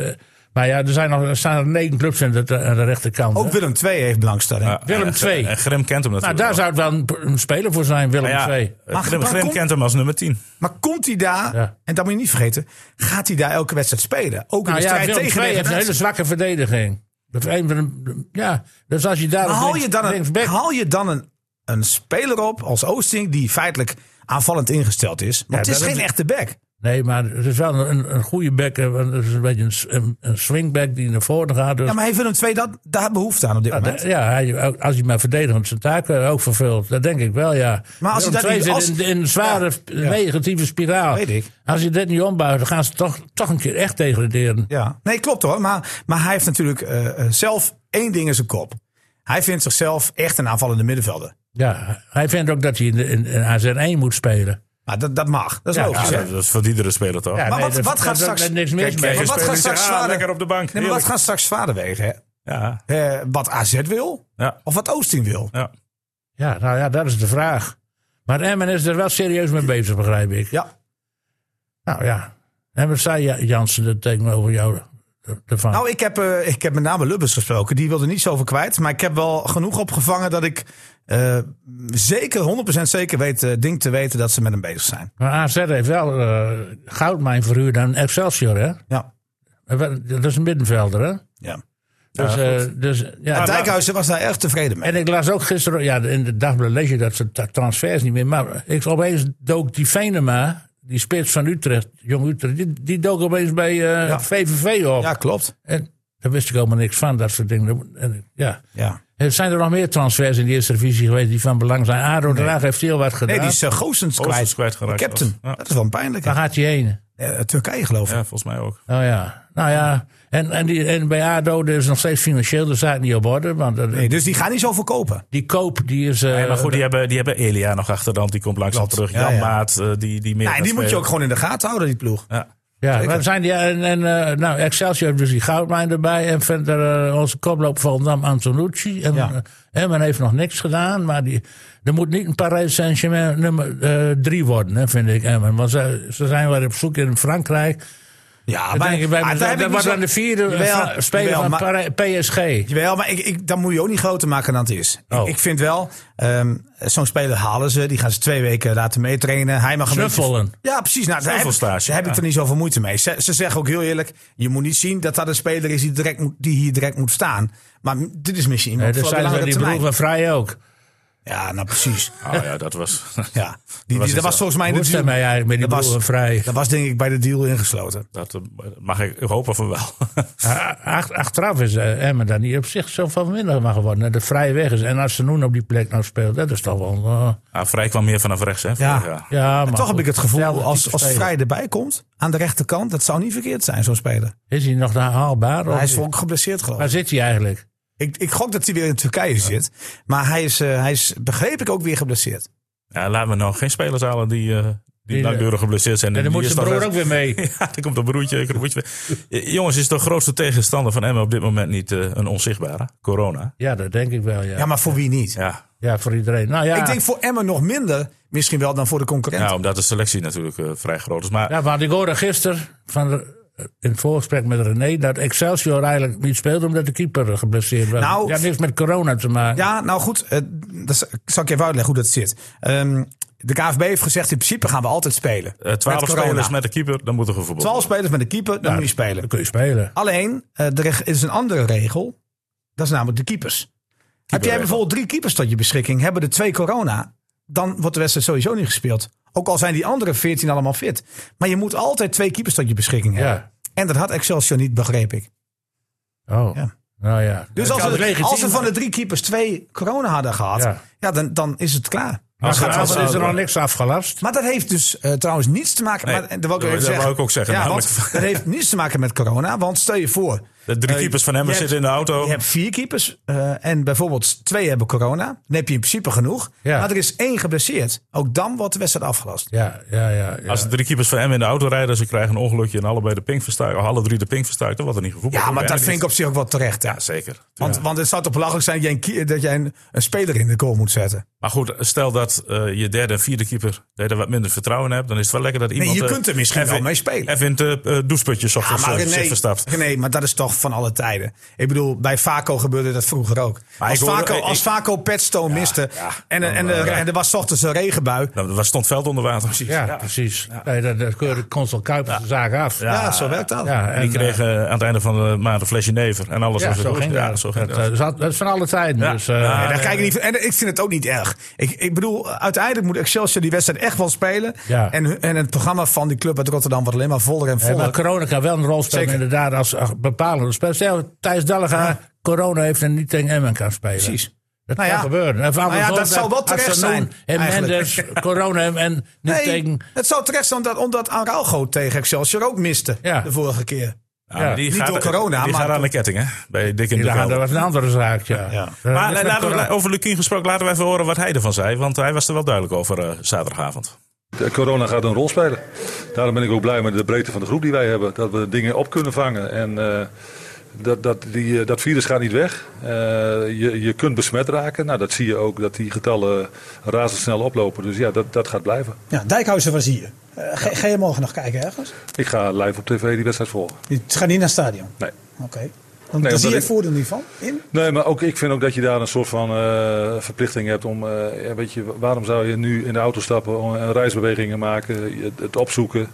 B: Maar ja, er zijn nog, er staan nog negen clubs aan de, aan de rechterkant.
D: Ook
B: hè.
D: Willem II heeft belangstelling.
A: Ja,
B: Willem
A: en-
B: II.
A: En Grim kent hem
B: nou,
A: natuurlijk.
B: daar zou het wel een, een speler voor zijn, Willem
A: wel. Maar
B: II.
A: ja,
D: Maar
A: Grim,
D: dan
A: Grim
D: komt-
A: kent hem als nummer 10.
D: Maar komt hij daar,
B: Ja.
D: en dat moet je niet vergeten, gaat hij daar elke wedstrijd spelen? Ook in
B: Nou ja,
D: de strijd
B: Willem
D: tegen
B: II heeft een hele
D: degradatie.
B: zwakke verdediging. Dat is een van de, ja, dus als je daar
D: Maar
B: op
D: haal
B: links-
D: je dan, een,
B: linksback-
D: haal je dan een, een speler op als Oosting die feitelijk aanvallend ingesteld is? Want
B: Ja,
D: het is
B: dat-
D: geen echte back.
B: Nee, maar het is wel een, een goede back. eh, want Het is een beetje een, s- een, een swingback die naar voren gaat. Dus
D: Ja, maar heeft Willem II dat, daar behoefte aan op dit moment?
B: Ah, de- ja, hij, ook- als hij maar verdedigend zijn taken ook vervult. Dat denk ik wel, ja.
D: Maar als hij
B: Willem
D: dat
B: II
D: niet- als-
B: zit in, in een zware negatieve spiraal.
D: Weet ik.
B: Als je dit niet ombouwt, dan gaan ze toch, toch een keer echt degraderen.
D: Ja, nee, klopt hoor. Maar, maar hij heeft natuurlijk eh, eh, zelf één ding in zijn kop. Hij vindt zichzelf echt een aanvallende middenvelder.
B: Ja, hij vindt ook dat hij in, de- in, in AZ1 moet spelen.
D: Maar dat, dat mag. Dat is logisch.
A: Ja,
D: hè?
A: dat is voor iedere speler toch?
B: Ja,
D: maar
B: nee,
D: wat,
B: dat-
D: wat gaat
B: dat-
D: straks...
B: daar niks mis
D: Kijk,
B: mee.
D: Maar wat
A: Spelers
D: gaat
A: die
D: straks
A: zeggen, ah,
D: zwaarder...
A: lekker op de bank.
D: Nee, maar wat gaat straks zwaarder wegen? Hè?
A: Ja,
D: Eh, wat AZ wil?
A: ja,
D: Of wat Oosting wil?
A: ja.
B: Ja, nou ja, dat is de vraag. Maar Emmen is er wel serieus mee bezig, begrijp ik.
D: Ja.
B: Nou ja. En wat zei Ja- Jansen er tegenover jou er- ervan?
D: Nou, ik heb, eh, ik heb met name Lubbers gesproken. Die wilde niet zoveel kwijt. Maar ik heb wel genoeg opgevangen dat ik eh, zeker, 100% zeker weet, eh, ding te weten dat ze met hem bezig zijn.
B: maar AZ heeft wel eh, goudmijn verhuurd aan Excelsior, hè?
D: Ja.
B: En wel- Dat is een middenvelder, hè?
D: ja.
B: Dus, eh, dus, ja,
D: Dijkhuizen was daar erg tevreden mee.
B: en ik las ook gisteren, ja, in de dagblad lees je dat ze ta- transfers niet meer. Maar ik opeens dook die Venema, die spits van Utrecht, jong Utrecht, die, die dook opeens bij eh,
D: Ja.
B: VVV op.
D: Ja, klopt.
B: En daar wist ik helemaal niks van, dat soort dingen. En, ja.
D: Ja.
B: Er zijn er nog meer transfers in de eerste divisie geweest die van belang zijn. Aro Draag heeft heel wat gedaan.
D: Nee, die is eh, Goossens
A: Oosters
D: kwijt.
A: kwijtgeraakt.
D: Captain.
A: Ja.
D: Dat is wel pijnlijk.
B: Waar gaat hij heen?
D: Eh, Turkije geloof ik.
A: ja, volgens mij ook.
B: Oh ja. Nou ja. En, en, die, en bij ADO is nog steeds financieel de zaak niet op orde. Want dat-
D: Nee, dus die gaan niet zoveel kopen.
B: die koop die is... eh,
A: Nee, maar goed, die hebben, die hebben Elia nog achter de hand. Die komt langzaam
D: Klopt.
A: terug.
D: Ja,
A: Jan
D: ja.
A: Maat, eh, die, die meer
D: Ja, en
A: gaat
D: die moet je
A: spelen.
D: ook gewoon in de gaten houden, die ploeg.
A: Ja.
B: ja, waar zijn die, en, en eh, nou, Excelsior heeft dus die goudmijn erbij. En verder eh, onze koploop Volendam Antonucci. En,
D: Ja.
B: eh, en men heeft nog niks gedaan. Maar die, er moet niet een Parijs Saint-Germain nummer eh, drie worden, hè, vind ik. Emmen. Want ze, ze zijn weer op zoek in Frankrijk.
D: Ja,
B: Dat
D: Ah, maar,
B: denk ik bij
D: ah, daar
B: mezelf.
D: heb ik
B: Dat
D: niet
B: was
D: zo-
B: dan de vierde eh,
D: Jawel,
B: va- speler
D: jawel,
B: van
D: maar-
B: Para- PSG.
D: Jawel, maar ik, ik, dan moet je ook niet groter maken dan het is. Ik-
B: Oh.
D: Ik, vind wel, ehm, zo'n speler halen ze. Die gaan ze twee weken laten meetrainen. Hij mag een beetje-
B: Snuffelen.
D: Ja, precies. Nou, daar heb, ik-
A: Snuffelstage,
D: daar heb
A: ja.
D: ik er niet zoveel moeite mee. Ze, ze zeggen ook heel eerlijk, je moet niet zien dat dat een speler is die, direct moet, die hier direct moet staan. Maar m- dit is misschien
B: Eh,
D: iemand
B: dat
D: voor
B: zijn we
D: langere
B: die broer
D: termijn.
B: van Vrij ook.
D: Ja, nou precies.
A: Oh ja, dat was...
D: Ja.
A: was
D: Die, was
A: het
D: dat was
A: zo.
D: volgens mij in
B: Hoe
D: de
B: is
D: deal.
B: dat mij eigenlijk met die
D: Dat
B: broer
D: was-
B: van Vrij?
D: Dat was denk ik bij de deal ingesloten.
A: Dat eh, mag ik hopen van wel.
B: Ah, ach- Achteraf is eh, Emmen daar niet op zich zo van minder mag worden. hè. De Vrij weg is. En als ze nu op die plek nou speelt, dat is toch wel... eh,
A: Ah, Vrij kwam meer vanaf rechts, hè? vorig jaar.
B: ja, maar
D: Toch heb
B: goed,
D: ik het gevoel,
B: hetzelfde
D: als,
B: type
D: als
B: speler.
D: Vrij erbij komt, aan de rechterkant, dat zou niet verkeerd zijn, zo'n speler.
B: Is hij nog daar haalbaar? of
D: Hij is
B: niet?
D: ook geblesseerd geloof ik.
B: Waar zit hij eigenlijk?
D: Ik, ik gok dat hij weer in Turkije zit. Maar hij is, eh, hij is, begreep ik, ook weer geblesseerd.
A: Ja, laten we nou geen spelers halen die, eh die,
B: eh,
A: langdurig geblesseerd zijn.
B: En dan moet
A: die
B: zijn
A: is dan
B: broer
A: weg.
B: ook weer mee.
A: Ja, dan komt een broertje, een broertje. Eh, Jongens, is de grootste tegenstander van Emmen op dit moment niet eh, een onzichtbare? Corona.
B: Ja, dat denk ik wel, ja.
D: Ja,
B: Ja,
D: maar voor wie niet?
A: Ja,
B: voor iedereen. Nou ja,
D: Ik denk voor Emmen nog minder misschien wel dan voor de concurrent.
A: ja Nou, omdat de selectie natuurlijk eh, vrij groot is. Maar
B: Ja, want ik hoorde gisteren van de- in het voorgesprek met René dat Excelsior eigenlijk niet speelde omdat de keeper geblesseerd was.
D: Nou-
B: ja, niks met corona te maken.
D: Ja, nou goed, eh, dat z- zal ik je even uitleggen hoe dat zit. Ehm, de KVB heeft gezegd, in principe gaan we altijd spelen.
A: eh, 12
D: corona.
A: spelers met de keeper, dan moet er een verbod.
D: 12 spelers met een keeper, dan moet je
B: Dan
D: spelen.
B: kun je spelen.
D: Alleen, eh, er is- is een andere regel. Dat is namelijk de keepers. Heb jij bijvoorbeeld drie keepers tot je beschikking, hebben er twee corona, dan wordt de wedstrijd sowieso niet gespeeld. Ook al zijn die andere 14 allemaal fit. Maar je moet altijd twee keepers tot je beschikking hebben.
B: Ja.
D: En dat had Excelsior niet, begreep ik.
B: Oh.
D: Ja.
B: Nou ja.
D: Dus als
B: kan
D: ze,
B: legitiem-
D: als ze van de drie keepers twee corona hadden gehad,
B: Ja.
D: ja. dan, dan is het klaar.
B: Maar
A: ze-
D: Maar,
B: vanavond
A: als-
B: is er nog niks afgelast.
D: maar dat heeft dus eh, trouwens niets te maken.
A: Nee,
D: maar, en dat wou ik,
A: dat
D: even
A: wou
D: zeggen.
A: ik ook zeggen,
D: Ja,
A: namelijk.
D: want dat heeft niets te maken met corona. Want stel je voor,
A: De drie
D: Eh,
A: keepers van Emmen
D: je
A: zitten in de auto.
D: Je hebt vier keepers eh, en bijvoorbeeld twee hebben corona. Dan heb je in principe genoeg.
B: Ja.
D: Maar er is één geblesseerd. Ook dan wordt de wedstrijd afgelast.
B: Ja, ja, ja. ja.
A: Als de drie keepers van Emmen in de auto rijden, ze krijgen een ongelukje en allebei de pink verstuiken, of alle drie de pink verstuiken, dan wordt er niet gevoetbald.
D: Ja, maar dat
A: En
D: vind ik op zich ook wel terecht. Ja.
A: Ja, zeker.
D: Want, want het zou toch belachelijk zijn dat jij, een, kie- dat jij een, een speler in de goal moet zetten.
A: Maar goed, stel dat eh, je derde en vierde keeper dat je er wat minder vertrouwen in hebt, dan is het wel lekker dat iemand...
D: je
A: eh,
D: kunt er misschien
A: even,
D: wel mee spelen.
A: Even in het eh, doucheputje
D: Ja,
A: ochtends,
D: maar
A: eh, zich
D: René,
A: verstapt.
D: René, maar dat is toch van alle tijden. Ik bedoel, bij Vaco gebeurde dat vroeger ook.
A: Maar
D: als,
A: ik hoorde-
D: Vaco,
A: ik-
D: als Vaco Petstone miste
A: ja,
D: en,
A: dan,
D: en, er-
A: eh, ja.
D: en er was 's ochtends een regenbui.
A: Nou, waar stond veld onder water? Precies.
B: ja, precies. Nee, dat, dat keurde Constant Kuipers de zaak af.
D: Ja, zo werkt dat.
B: Ja,
A: En die
B: eh,
A: kregen eh, aan het einde van de maand een flesje never en alles
B: ja,
A: was
B: zo
A: erdoor.
B: ging
A: Ja,
B: dat.
A: zo ging
B: dat.
A: dat.
B: eh, zat- dat is van alle tijden.
A: Ja.
B: Dus, eh,
A: Ja.
D: Nee, daar
A: nee,
D: kijk ik niet van. En ik vind het ook niet erg. Ik, ik bedoel, uiteindelijk moet Excelsior die wedstrijd echt wel spelen.
B: Ja.
D: En, hun- en het programma van die club uit Rotterdam wordt alleen maar voller en
B: eh,
D: voller.
B: maar corona kan wel een rol spelen
D: Zeker.
B: inderdaad als als bepalende speler. Stel, Thijs Dallega corona heeft en niet tegen Emmen kan spelen.
D: Precies.
B: Dat
D: Nou
B: kan
D: ja.
B: gebeuren. En van
D: Nou ja,
B: andersom,
D: dat zou wel terecht
B: Hassanoen
D: zijn,
B: En
D: eigenlijk.
B: Mendes, corona en- en niet tegen...
D: nee, het zou terecht zijn omdat, omdat Araujo tegen Excelsior ook miste
B: Ja.
D: de vorige keer.
A: Ja,
B: Ja.
A: maar die
D: Niet
A: gaat,
D: door corona,
A: Die
D: maar-
A: gaat aan de ketting, hè? Bij Dick in de
B: Ja,
A: Kelder.
B: dat was een andere zaak, ja.
D: Ja.
B: Eh,
A: Maar
B: dus met
A: eh, laten we,
B: corona-
A: la- over Lukien gesproken, laten we even horen wat hij ervan zei. Want hij was er wel duidelijk over eh, zaterdagavond.
E: De Corona gaat een rol spelen. Daarom ben ik ook blij met de breedte van de groep die wij hebben. Dat we dingen op kunnen vangen. En eh, dat, dat, die, eh, dat virus gaat niet weg. Eh, je, je kunt besmet raken. Nou, dat zie je ook, dat die getallen razendsnel oplopen. Dus ja, dat, dat gaat blijven.
F: Ja, Dijkhuizen was hier. Eh, ga, ga je morgen nog kijken ergens?
E: Ik ga live op tv die wedstrijd volgen.
F: Het gaat niet naar het stadion.
E: Nee.
F: Oké. Dan
E: omdat
F: zie je
E: ik-
F: het voordeel niet van. In?
E: Nee, maar ook ik vind ook dat je daar een soort van eh, verplichting hebt om. eh, ja, weet je, waarom zou je nu in de auto stappen, om- en reisbewegingen maken, je- het opzoeken?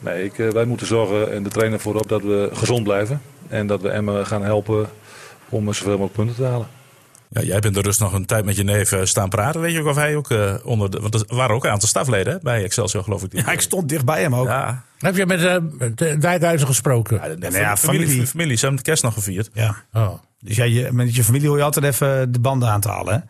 E: Nee, ik, eh, wij moeten zorgen en de trainer voorop dat we gezond blijven. En dat we Emmen gaan helpen om eh, zoveel mogelijk punten te halen.
A: Ja, jij bent er dus nog een tijd met je neef eh, staan praten. Weet je ook of hij ook eh, onder de... Want er waren ook een aantal stafleden hè, bij Excelsior, geloof ik. die-
D: Ja, ik stond dicht bij hem ook.
A: Ja.
B: Heb je met eh, met, eh, Dijkhuizen gesproken?
A: Ja,
D: nou ja,
A: familie, familie.
D: familie.
A: Ze hebben de kerst nog gevierd.
D: Ja.
B: Oh.
D: Dus ja, je, met je familie hoor je altijd even de banden aan te halen. Hè?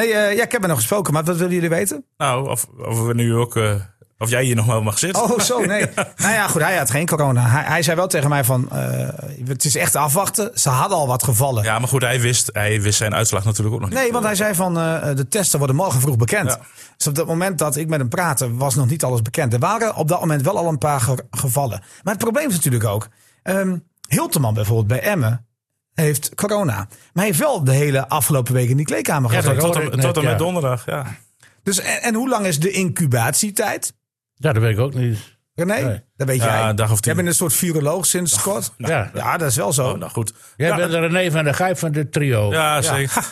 D: Nee, eh, ja, ik heb er nog gesproken, maar wat willen jullie weten?
A: Nou, of, of we nu ook... eh, of jij hier nog wel mag zitten.
D: Oh, zo, nee. Nou ja, goed, hij had geen corona. Hij, hij zei wel tegen mij van, eh, het is echt afwachten. Ze hadden al wat gevallen.
A: Ja, maar goed, hij wist, hij wist zijn uitslag natuurlijk ook nog niet.
D: Nee, want hij zei van eh, de testen worden morgen vroeg bekend.
A: Ja.
D: Dus op dat moment dat ik met hem praatte, was nog niet alles bekend. Er waren op dat moment wel al een paar ge- gevallen. Maar het probleem is natuurlijk ook, ehm Hilteman bijvoorbeeld bij Emmen heeft corona. Maar hij heeft wel de hele afgelopen week in die kleedkamer
B: Ja,
D: gezeten.
B: dat
A: Tot,
B: hoorde
A: en-
B: ik net,
A: tot en met
B: ja.
A: donderdag, ja.
D: Dus en, en hoe lang is de incubatietijd?
B: Ja, dat weet ik ook niet.
D: René,
B: Nee.
D: dat weet
A: Ja,
D: jij.
A: een dag of tien.
D: Jij bent een soort viroloog sinds kort.
B: ja.
D: Ja, dat is wel zo.
A: Oh, nou goed.
B: Jij
A: ja,
B: bent de René van der Gijp van dit trio. Ja.
A: ja, zeker.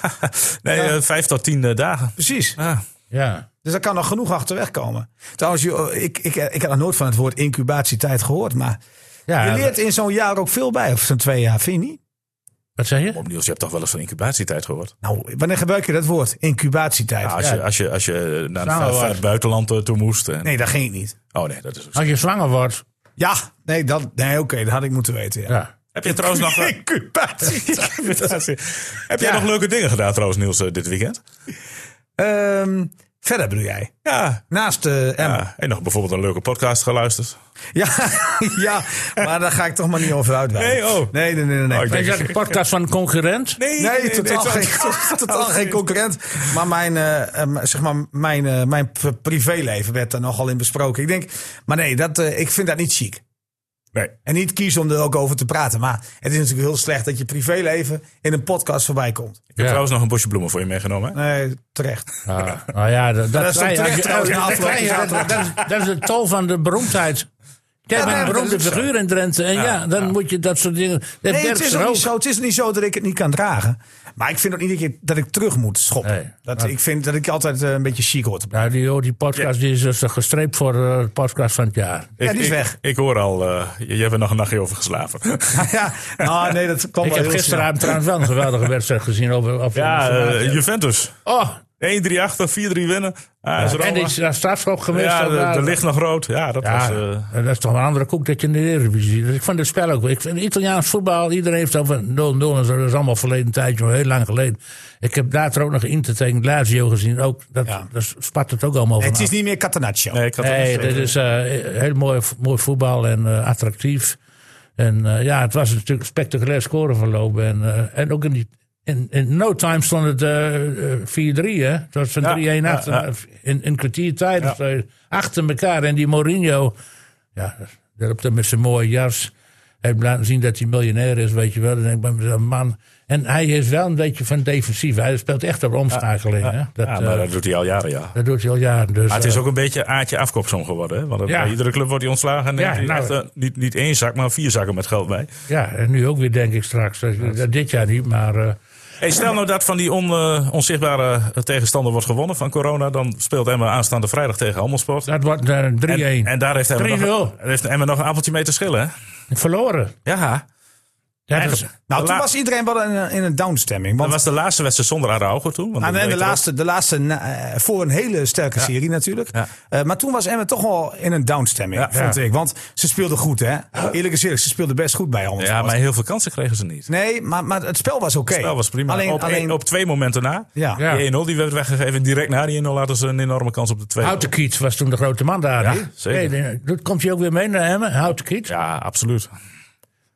A: nee, eh, vijf tot tien eh, dagen.
D: Precies.
A: Ja.
D: Dus daar kan nog genoeg achterweg komen. Trouwens, joh, ik, ik, ik had nog nooit van het woord incubatietijd gehoord. Maar
B: Ja,
D: je leert in zo'n jaar ook veel bij. Of zo'n twee jaar, vind je niet?
B: Wat zeg je?
A: Op Niels, je hebt toch wel eens van incubatietijd gehoord?
D: Nou, wanneer gebruik je dat woord? Incubatietijd.
A: Ja, als,
B: Ja.
A: je, als, je, als je naar het
B: Samen
A: ver- ver
B: was.
A: buitenland eh, toe moest. En,
D: Nee, dat ging ik niet.
A: Oh nee, dat is...
B: Als je zwanger wordt.
D: Ja, nee, dat, nee oké, dat had ik moeten weten. Ja.
B: Ja.
A: Heb je trouwens nog... eh,
D: Incubatietijd.
A: heb jij
D: Ja.
A: nog leuke dingen gedaan trouwens, Niels, eh, dit weekend?
D: Ehm, verder bedoel jij?
A: Ja.
D: Naast eh Emma.
A: ja. En nog bijvoorbeeld een leuke podcast geluisterd.
D: Ja. ja, maar daar ga ik toch maar niet over uitweiden.
A: Nee, oh.
D: Nee, nee, nee, nee. nee.
A: Oh, ik
B: Is dat een podcast van een concurrent?
A: Nee,
D: Nee, totaal,
A: sorry.
D: geen, totaal geen concurrent. Maar mijn, eh, eh, zeg maar, mijn, eh, mijn p- privéleven werd daar nogal in besproken. Ik denk, maar nee, dat, eh, ik vind dat niet chic.
A: Nee.
D: En niet kiezen om er ook over te praten. Maar het is natuurlijk heel slecht dat je privéleven in een podcast voorbij komt.
A: Ik heb
B: Ja.
A: trouwens nog een bosje bloemen voor je meegenomen. Hè?
D: Nee, terecht.
B: Ah, nou ja, dat, dat,
D: Dat is toch
B: als je-
D: terecht
B: als
D: trouwens,
B: je-
D: na
B: dat
D: afloop.
B: krijg je- dat- dat is- dat is het tol van de beroemdheid. Jij bent
D: nee,
B: een
D: dat
B: beroemde
D: is ook zo.
B: figuur in Drenthe. En ja, dan moet je dat soort dingen... Dat
D: Nee,
B: werkt
D: het is,
B: er
D: ook
B: ook.
D: niet zo, het is niet zo dat ik het niet kan dragen. Maar ik vind ook niet dat ik, dat ik terug moet schoppen.
B: Nee.
D: dat, ik vind dat ik altijd eh, een beetje chic hoor te blijven.
B: Nou, die, die podcast die is dus gestreept voor eh, de podcast van het jaar.
A: Ik,
D: die is
A: ik-
D: weg.
A: Ik, hoor al, eh, je, je hebt er nog een nachtje over geslapen.
D: ja, nou, nee, dat kwam
B: Ik
D: wel
B: heb
D: heel
B: gisteravond trouwens wel een geweldige wedstrijd gezien over... over
A: ja,
B: over-
A: eh, Juventus.
B: oh,
A: 1-3 achter, 4-3 winnen. Ah, is er
B: en
A: allemaal.
B: is daar strafschop geweest.
A: ja,
B: of daar-
A: de, de licht nog rood. Ja, dat was...
B: Ja,
A: eh,
B: dat is toch een andere koek dat je in de Eredivisie ziet. Dus ik vond het spel ook... Ik vind Italiaans voetbal, iedereen heeft over 0-0 en zo. Dat is allemaal verleden tijdje, maar heel lang geleden. Ik heb later ook nog Inter tegen Lazio gezien. Ook, dat, dat spat het ook allemaal
D: Het
B: van
D: is niet meer Catenaccio.
A: nee, ik had het
B: Nee,
A: niet
B: dit is eh, heel mooi, mooi voetbal en eh, attractief. En eh, ja, het was natuurlijk een spectaculair scoren verloop. En, eh, en ook in, die, in, in no time stond het eh, eh, 4-3. Hè? Het was van
A: Ja,
B: 3-1 achter,
A: ja, ja.
B: In, in kwartier tijd of zo, achter elkaar. En die Mourinho, ja, dat op met zijn mooie jas. Hij heeft laten zien dat hij miljonair is, weet je wel. Dan denk ik bij mezelf, man. En hij is wel een beetje van defensief. Hij speelt echt op omschakeling. hè? Dat,
A: ja, maar
B: eh,
A: dat doet hij al jaren, ja.
B: dat doet hij al jaren. Dus,
A: Maar het is
B: eh,
A: ook een beetje aardje afkoopsom geworden. Hè? Want het-
B: Ja.
A: bij iedere club wordt hij ontslagen. En
B: Ja,
A: neemt hij
B: nou,
A: echt, eh, niet, niet één zak, maar vier zakken met geld mee.
B: ja, en nu ook weer, denk ik straks. Dat, dat dit jaar niet, maar... eh,
A: Hey, stel nou dat van die on, eh, onzichtbare tegenstander wordt gewonnen van corona. Dan speelt Emma aanstaande vrijdag tegen Handelsport.
B: dat wordt eh, 3-1.
A: En, en daar heeft Emma, nog,
B: 3-0.
A: heeft Emma nog een appeltje mee te schillen. Hè?
B: Verloren.
A: Ja,
B: Dat
A: Eigenlijk-
B: is,
D: Nou, toen
A: La-
D: was iedereen wel in, een- in een downstemming.
A: dat
D: Want
A: was de laatste wedstrijd zonder Araujo toen. Want dat
D: aan de, en Ah, de
A: weet je
D: laatste, de laatste na- eh, voor een hele sterke serie natuurlijk.
A: Ja.
D: Eh, maar toen was Emmen toch wel in een downstemming,
A: Ja.
D: vond
B: Ja.
D: ik. Want ze speelden goed, hè? Eerlijk is eerlijk, ze speelden best goed bij
A: wel.
D: ons.
A: Ja, maar heel veel kansen kregen ze niet.
D: Nee, maar, maar het spel was oké.
A: Het spel was prima.
D: Alleen,
A: op, één-
D: alleen
A: op twee momenten na.
D: ja.
B: Ja.
A: Die 1-0 die werd weggegeven. En direct na die 1-0 hadden ze een enorme kans op de 2
B: Houtenkiet was toen de grote man daar.
A: Ja,
B: hè?
A: zeker.
B: Nee, nee, dat komt hij ook weer mee naar Emmen? Houtenkiet?
A: Ja, absoluut.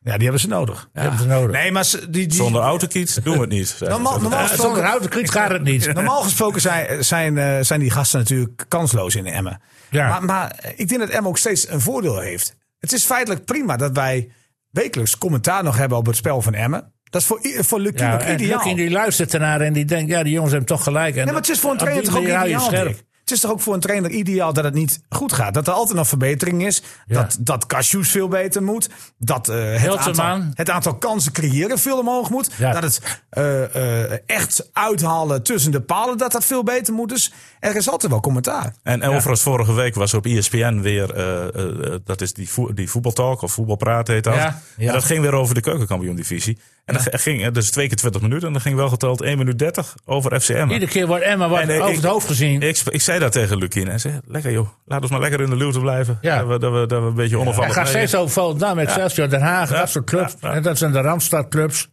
D: Ja, die hebben ze nodig.
B: Dat hebben ze nodig.
D: Nee, maar ze- die, die,
A: Zonder autokiet doen we het niet. zeggen
D: normaal,
A: ze.
D: normaal
B: Eh, zonder
D: gesproken,
B: Houtenkiet gaat het niet.
D: normaal gesproken zijn, zijn, eh, zijn die gasten natuurlijk kansloos in Emmen.
B: Ja.
D: Maar, maar ik denk dat Emmen ook steeds een voordeel heeft. Het is feitelijk prima dat wij wekelijks commentaar nog hebben op het spel van Emmen. Dat is voor, i- voor Lucky
B: Ja,
D: ook
B: en
D: ideaal.
B: Lucky die luistert ernaar en die denkt, ja, die jongens hebben toch gelijk. En
D: Nee, maar het is voor een
B: op die
D: trainer toch ook
B: manier hou je
D: ideaal.
B: scherp.
D: Dick? Het is toch ook voor een trainer ideaal dat het niet goed gaat. Dat er altijd nog verbetering is.
B: Ja.
D: Dat, dat Cashews veel beter moet. Dat eh, het,
B: Hilterman.
D: aantal, het aantal kansen creëren veel omhoog moet.
B: Ja.
D: Dat het eh, eh, echt uithalen tussen de palen dat dat veel beter moet. Dus er is altijd wel commentaar.
A: En, en overigens, vorige week was op E ESPN weer, eh, eh, eh, dat is die, voe- die voetbaltalk of voetbalpraat heet dat.
B: Ja,
A: En dat ging weer over de keukenkampioen-divisie. En dat ge- ging, eh, dus twee keer 20 minuten en dat ging wel geteld 1 minuut 30 over FCM.
B: Iedere keer wordt Emma wordt
A: En, eh,
B: over
A: ik-
B: het hoofd gezien.
A: Ik, sp- ik zei dat tegen Lukien. Hij zei, lekker joh, laat ons maar lekker in de luwte blijven.
B: Ja.
A: Dat, we, dat, we, dat we een beetje
B: Hij
A: onafhankelijk
B: gaat
A: blijven.
B: steeds over Volendam, Excelsior, Den Haag,
A: Ja.
B: dat soort clubs.
A: Ja, ja.
B: En dat zijn de Randstadclubs.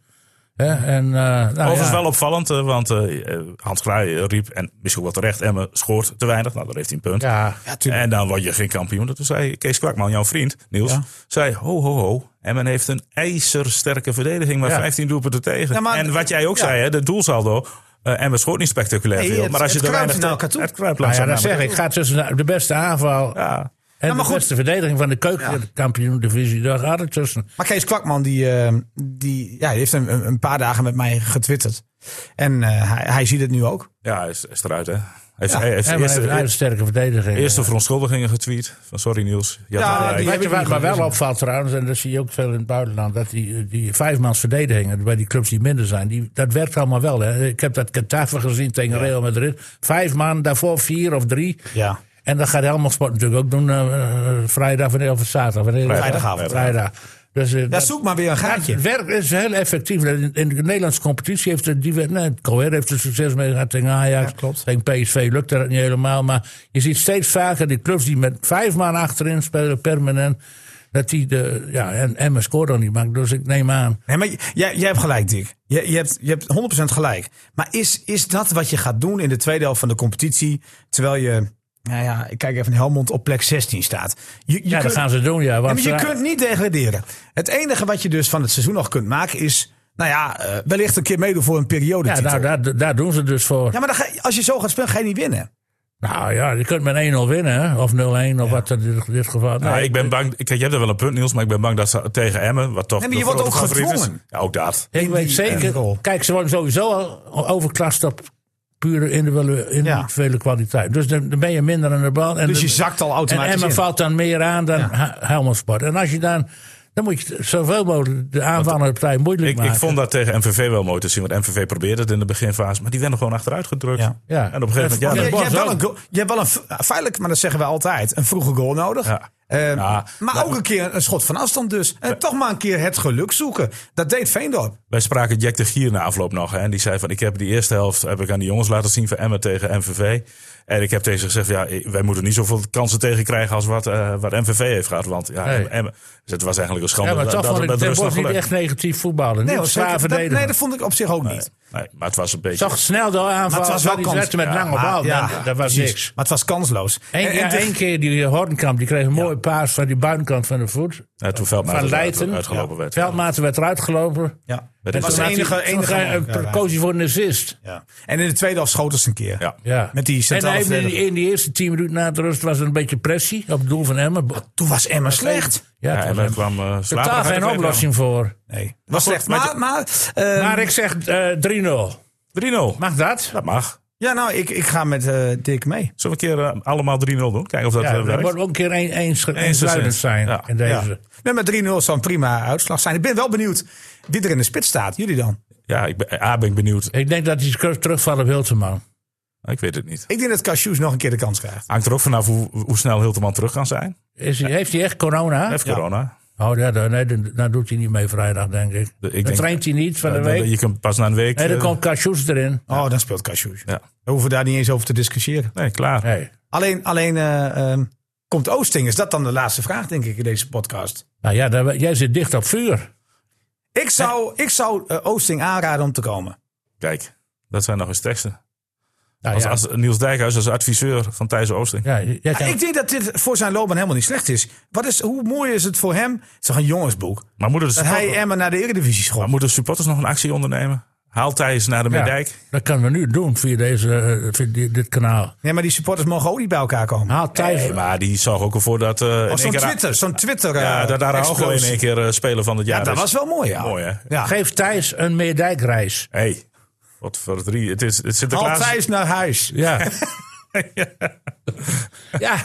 B: Hè, En, eh, nou,
A: Overigens
B: ja.
A: wel opvallend, eh, want eh, eh, Hans Kraaij riep, en misschien wel terecht, Emmen scoort te weinig. Nou, daar heeft hij een punt.
B: Ja.
A: en dan word je geen kampioen. Dat zei Kees Kwakman, jouw vriend, Niels. Zei, ho, ho, ho. Emmen heeft een ijzersterke verdediging, maar
B: Ja.
A: 15 doelpunten tegen.
D: Ja, maar-
A: en wat jij ook
D: ja.
A: zei, hè, de doelsaldo. eh Emmen schoot niet spectaculair
D: Nee,
A: veel.
D: het-
A: maar als je
D: het
A: er
D: kruipt
A: weinig
D: naar
A: tegen-
D: elkaar toe.
A: Het kruipt
B: Nou ja,
A: langzaam
B: dat
A: naar
B: zeg ik.
A: elkaar
B: Gaat tussen de- de beste aanval
A: toe. Ja.
B: En
D: Nou, maar
B: de
D: goed.
B: beste verdediging van de keukenkampioen-divisie, daar gaat het tussen.
D: Maar Kees Kwakman die, eh, die, ja, die heeft een, een- een paar dagen met mij getwitterd. En eh, hij, hij ziet het nu ook.
A: Ja, hij is, is eruit, hè. Hij heeft,
D: Ja.
A: hij heeft
B: En we
A: eerst,
B: hebben een hele sterke verdediging.
A: eerste verontschuldigingen getweet. Van sorry Niels, je had
D: Ja,
A: gelijk.
D: die-
B: Weet je
D: hebben
B: waar
D: niet
B: maar wel
D: gelezen.
B: opvalt trouwens, en dat zie je ook veel in het buitenland, dat die, die vijfmans verdedigingen bij die clubs die minder zijn, die, dat werkt allemaal wel. Hè. Ik heb dat Getafe gezien tegen Real Madrid. Vijf man, daarvoor vier of drie.
D: Ja.
B: En dat gaat Helmond Sport natuurlijk ook doen eh, eh, vrijdag wanneer, of zaterdag. Wanneer,
D: Vrijdagavond.
B: Vrijdag. Dus, eh,
D: Ja,
B: dat-
D: zoek maar weer een
B: ja,
D: gaatje.
B: Het werk is heel effectief. In in de Nederlandse competitie heeft het, die, werd- nee, Coher heeft er succes mee gehad tegen Ajax.
D: Ja, klopt.
B: Tegen PSV lukt dat niet helemaal. Maar je ziet steeds vaker die clubs die met vijf man achterin spelen permanent. Dat die de, ja, en Emma scoort dan niet maakt. Dus ik neem aan.
D: Nee, maar j- jij, jij hebt gelijk, Dick. Je, je, hebt, je hebt 100% gelijk. Maar is, is dat wat je gaat doen in de tweede helft van de competitie? Terwijl je, nou ja, ik kijk even in Helmond, op plek 16 staat. Je, je
B: Ja,
D: kunt,
B: dat gaan eh, ze doen, ja.
D: Ja,
B: Want
D: maar je
B: ze-
D: kunt niet degraderen. Het enige wat je dus van het seizoen nog kunt maken is, nou ja, eh, wellicht een keer meedoen voor een periode.
B: ja, nou, daar, daar doen ze dus voor.
D: ja, maar dan ga je- als je zo gaat spelen, ga je niet winnen.
B: Nou ja, je kunt met 1-0 winnen, hè. of 0-1, of wat in dit, dit geval.
A: Nou,
B: Nee,
A: ik ben bang. Ik, je hebt er wel een punt, Niels, maar ik ben bang dat ze tegen Emmen, wat toch.
D: Nee, maar
A: de
D: je wordt
A: grote
D: ook
A: favoriet is-
D: gedwongen.
A: Ja, ook dat.
B: Ik
D: in
B: weet
D: die
B: zeker.
D: rol.
B: Kijk, ze worden sowieso al overklast op pure individuele, individuele kwaliteit. Dus dan, dan ben je minder aan de bal. En
D: Dus je
B: dan-
D: zakt al automatisch
B: En Emma
D: in.
B: valt dan meer aan dan ja. Helmond Sport. En als je dan... Dan moet je zoveel mogelijk de aanvallende partij moeilijk
A: Ik,
B: maken.
A: ik vond dat tegen MVV wel mooi te zien, want MVV probeerde het in de beginfase, maar die werden gewoon achteruit gedrukt.
D: Ja.
B: Ja.
A: En op een gegeven
D: Je,
A: moment, ja,
D: je
A: dan-
D: hebt wel een goal, je hebt wel een, v- nou, feitelijk, maar dat zeggen wij altijd, een vroege goal nodig.
A: Ja.
D: Eh,
B: Ehm,
A: Ja,
D: maar ook een keer een schot van afstand dus. En toch maar een keer het geluk zoeken. Dat deed Veendorp.
A: wij spraken Jack de Gier na afloop nog. Hè, en die zei van, ik heb die eerste helft heb ik aan die jongens laten zien van Emmen tegen MVV. En ik heb tegen ze gezegd, ja, wij moeten niet zoveel kansen tegen krijgen als wat, eh, wat MVV heeft gehad. Want ja,
B: Nee.
A: Emmen, dus het was eigenlijk een schande
B: ja, maar
A: dat,
B: toch
A: dat
B: vond
A: het met
B: ik Ten
A: rust nog
B: Bosch niet
A: gelukt.
B: echt negatief voetballen. Nee,
D: dat-
B: niet zwaar
D: dat,
B: verdedigen.
D: nee, dat vond ik op zich ook niet.
A: Nee, maar het was een beetje...
B: Toch snel door
D: Maar
B: aanvallen.
D: het was wel
B: die
D: kans.
B: zetten met lange
D: maar-
B: bal.
D: ja,
B: Oh, dat- dat was
D: precies.
B: niks.
D: Maar het was kansloos.
B: Eén
D: En- en
B: keer,
D: de-
B: één keer die Hornkamp, die kreeg een mooie mooie paas van die buitenkant van de voet.
A: Ja, toen Veldmaat
B: van Leijten.
A: uitgelopen werd.
B: Veldmaten werd eruit gelopen.
D: Ja.
A: Werd
B: En
A: het-
D: was
B: toen had
D: enige-
B: hij- toen
D: enige-
B: ga- eh,
D: ja, ja.
B: koos hij voor een assist.
D: Ja. En in de tweede helft schoten ze een keer.
A: Ja.
B: Ja.
D: Met die
B: en
D: centrale
B: hij heeft in, die,
D: verdediger.
B: in die eerste tien minuten na de rust was er een beetje pressie op het doel van Emmen. Ja,
D: Toen was Emma slecht.
A: Ja,
B: het
A: en
B: was
A: daar
B: een-
A: kwam eh, Slaper
B: totaal
A: uit de
B: geen
A: kleedkamer.
B: oplossing voor.
D: Nee, was slecht. Maar, maar, eh,
B: Maar ik zeg eh, 3-0.
A: 3-0.
B: Mag dat?
A: Dat mag.
D: ja, nou, ik, ik ga met eh Dick mee.
A: Zullen we een keer eh, allemaal 3-0 doen? Kijken of dat
B: Ja,
A: eh,
B: dat
A: werkt.
B: wordt ook een keer een- eens
A: Eens
B: eensluidend
A: eens.
B: zijn
A: Ja.
B: in
D: Ja.
B: deze.
D: Nee, maar 3-0 zou een prima uitslag zijn. Ik ben wel benieuwd wie er in de spits staat. Jullie dan?
A: Ja, ik ben, A ben ik benieuwd.
B: Ik denk dat hij terugvallen op Hilteman.
A: Ik weet het niet.
D: Ik denk dat Cashews nog een keer de kans krijgt.
A: Hangt er ook vanaf hoe, hoe snel Hilteman terug kan zijn.
B: Is hij, Heeft hij echt corona?
A: Even corona.
B: Oh ja, dan, nee, dan, dan doet hij niet mee vrijdag, denk ik.
A: De- ik
B: dan
A: denk-
B: traint hij niet van de
A: Dan- dan-
B: week.
A: Je kunt pas na een week...
B: Nee, dan
A: eh,
B: komt Cashews erin.
D: Oh, dan speelt Cashews.
A: Ja.
D: We hoeven daar niet eens over te discussiëren.
A: Nee, klaar.
B: Nee.
D: Alleen, alleen eh, ehm, komt Oosting? Is dat dan de laatste vraag, denk ik, in deze podcast?
B: Nou ja, daar- jij zit dicht op vuur.
D: Ik zou, ik zou eh, Oosting aanraden om te komen.
A: Kijk, dat zijn nog eens teksten.
B: Nou,
A: Als,
B: ja,
A: als Niels Dijkhuis als adviseur van Thijs Oosting.
B: ja, jij kan-
D: Ah, Ik denk dat dit voor zijn loopbaan helemaal niet slecht is. Wat is hoe mooi is het voor hem? Het is toch een jongensboek?
A: Maar moeten de,
D: Dat
A: supporters-
D: hij Emma naar de Eredivisie
A: maar
D: schopt.
A: moeten de supporters nog een actie ondernemen? Haal Thijs naar de
B: ja,
A: Meerdijk.
B: Dat kunnen we nu doen via, deze, eh, via di- dit kanaal.
D: Nee, maar die supporters mogen ook niet bij elkaar komen.
A: Nou,
B: Haal Thijs.
A: Nee, maar die zorgt ook ervoor dat... eh, in
D: Of
A: één
D: zo'n
A: keer-
D: Twitter, zo'n Twitter.
A: Ja,
D: eh,
A: dat daar ook in
D: explosie.
A: één keer eh, speler van het jaar
D: Ja, dat
A: is.
D: was wel mooi, ja.
A: Mooi, hè?
D: Ja.
B: Geef Thijs een Meerdijkreis.
A: hey, wat voor drie. Het is het Sinterklaas.
D: Altijd naar huis.
B: Ja. ja.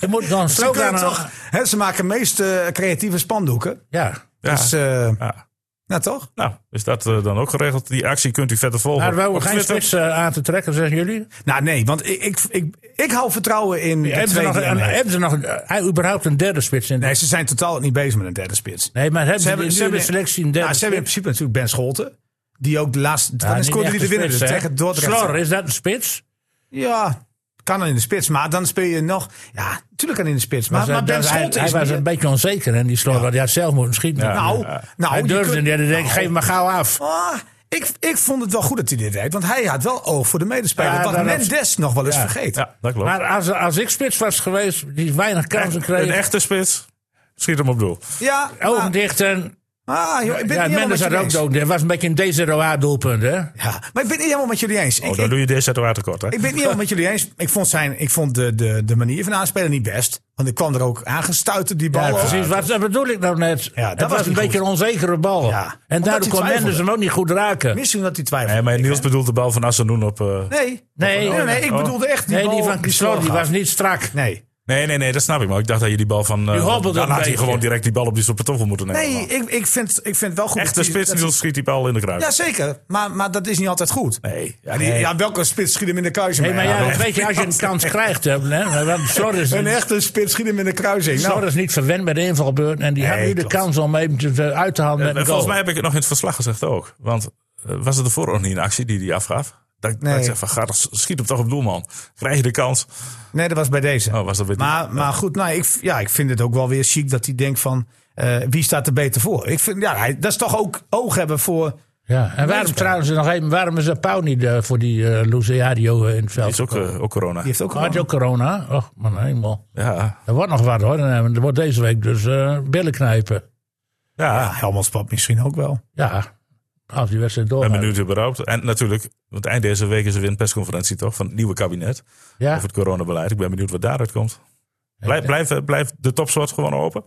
B: Je moet dan
D: Ze,
B: slogan
D: kunnen
B: aan-
D: toch, hè, ze maken meest eh, creatieve spandoeken.
B: Ja.
A: Ja.
D: Dus, eh,
A: Ja.
D: nou toch?
A: Nou, is dat eh, dan ook geregeld? Die actie kunt u verder volgen.
B: Maar wel
A: Op
B: Nou, geen
A: Twitter.
B: spits eh, aan te trekken, zeggen jullie?
D: Nou nee, want ik, ik, ik, ik hou vertrouwen in de
B: Hebben ze, nog,
D: tweede.
B: een,
D: Nee.
B: hebben ze nog een, eh, überhaupt een derde spits in?
D: nee, ze zijn totaal niet bezig met een derde spits.
B: Nee, maar hebben ze,
D: Ze hebben,
B: hebben,
D: nu-
B: de selectie een derde
D: nou, ze hebben in
B: spits?
D: principe natuurlijk Ben Scholten. Die ook de laatste...
B: Ja,
D: dan
B: niet
D: scoorde
B: echt
D: die de
B: een
D: winnaar
B: spits,
D: dus
B: hè?
D: tegen Dordrecht.
B: Slor, is dat een spits?
D: Ja, kan dan in de spits. Maar dan speel je nog... Ja, natuurlijk kan hij in de spits. Maar,
B: Was
D: maar,
B: dat-
D: Ben
B: dat- hij,
D: Scholten
B: hij
D: is...
B: was
D: meer-
B: een beetje onzeker, en die Slor, want hij had zelf moeten schieten.
A: Ja.
D: nou, nou,
B: hij
D: je
B: durfde
D: kunt-
B: niet. Hij denkt, geef maar gauw af.
D: Ah, ik, ik vond het wel goed dat hij dit deed. Want hij had wel oog voor de medespeler.
B: Ja,
D: wat
B: dat-
D: Mendes nog wel eens
B: Ja.
D: vergeten.
A: Ja, dat klopt.
B: Maar als, als ik spits was geweest, die weinig kansen kreeg.
A: Een echte spits. Schiet hem op doel.
D: Ja,
B: Ogen
D: maar-
B: Oh, dicht en...
D: ah,
B: Ja,
D: joh, ik ben het niet helemaal met
B: Mendes had
D: jullie
B: ook
D: eens.
B: dood. Het was een beetje een DZOA-doelpunt, hè?
D: Ja, maar ik ben het niet helemaal met jullie eens.
A: Oh,
D: ik,
A: dan
D: ik,
A: doe je deze uit tekort, hè?
D: ik ben het niet helemaal met jullie eens. Ik vond, zijn, ik vond de, de, de manier van aanspelen niet best. Want ik kwam er ook aangestuiterd die bal.
B: Ja,
D: ook.
B: precies. Wat dat bedoel ik nou net?
D: Ja, dat
B: het
D: was
B: was,
D: niet
B: een beetje
D: goed.
B: een onzekere bal.
D: Ja.
B: En daardoor
D: Omdat hij
B: kon Mendes
D: twijfelde.
B: hem ook niet goed raken.
D: Misschien dat Ah, hij twijfelt.
A: Nee, maar Niels bedoelt de bal van Assenoen op... eh,
D: Nee.
B: Nee.
D: nee, nee, ik
A: Oh.
D: bedoelde echt die
B: nee,
D: bal
B: die van Kislor die
D: sloeg
B: was
D: af.
B: niet strak.
D: Nee,
A: Nee, nee, nee, dat snap ik. Maar ik dacht dat je die bal van... eh,
B: Die hobbelde
A: dan
B: een
A: had hij
B: beetje.
A: gewoon direct die bal op die stoppetoffel moeten nemen.
D: nee
A: man.
D: ik, ik, vind, ik vind het wel goed.
A: Echte
D: dat hij-
A: spits,
D: dat
A: Niels schiet die bal in de kruis.
D: hij- Ja, zeker. Maar, maar dat is niet altijd goed.
A: Nee. Ja,
D: Ja, die,
A: nee.
D: ja, welke spits schiet hem in de kruising?
B: Nee, maar ja, dat weet je, als je een kans krijgt, hè, hè, want Slor is,
D: Een echte spits schiet hem in de kruising.
B: Slor
D: Nou,
B: is niet verwend bij de invalbeurt. En die had
A: Nee,
B: nu de
A: klopt.
B: kans om even te- uit te halen met
A: En
B: een
A: Eh, volgens
B: goal.
A: mij heb ik het nog in het verslag gezegd ook. Want eh, was het ervoor ook niet een actie die die afgaf? Dat, dat
D: Nee.
A: ik zeg van, ga, toch- schiet hem toch op doel, man. Krijg je de kans.
D: nee, dat was bij deze.
A: Oh, was dat weer die-
D: Maar, maar goed, nou, ik, ja, ik vind het ook wel weer chic dat hij denkt van... eh, wie staat er beter voor? Ik vind, ja, hij, dat is toch ook oog hebben voor...
B: Ja. En waarom
D: spelen.
B: trouwens nog even, waarom is dat Pauw niet eh, voor die eh Luciadio eh, in het veld?
A: is ook, eh, ook corona.
D: Die heeft ook
B: Oh, Had je
D: gewoon-
B: ook corona? Och, man, helemaal.
A: Ja.
B: Er wordt nog wat hoor. En Er wordt deze week dus eh, billen knijpen.
A: Ja,
D: Ja, Helmans Ah, pap misschien ook wel.
B: Ja, als die wedstrijd door.
A: ben benieuwd überhaupt. En natuurlijk, want eind deze week is er weer een persconferentie toch van het nieuwe kabinet
B: Ja.
A: over het coronabeleid. Ik ben benieuwd wat daaruit komt. Blijf, blijf, eh, blijf de topsoort gewoon open.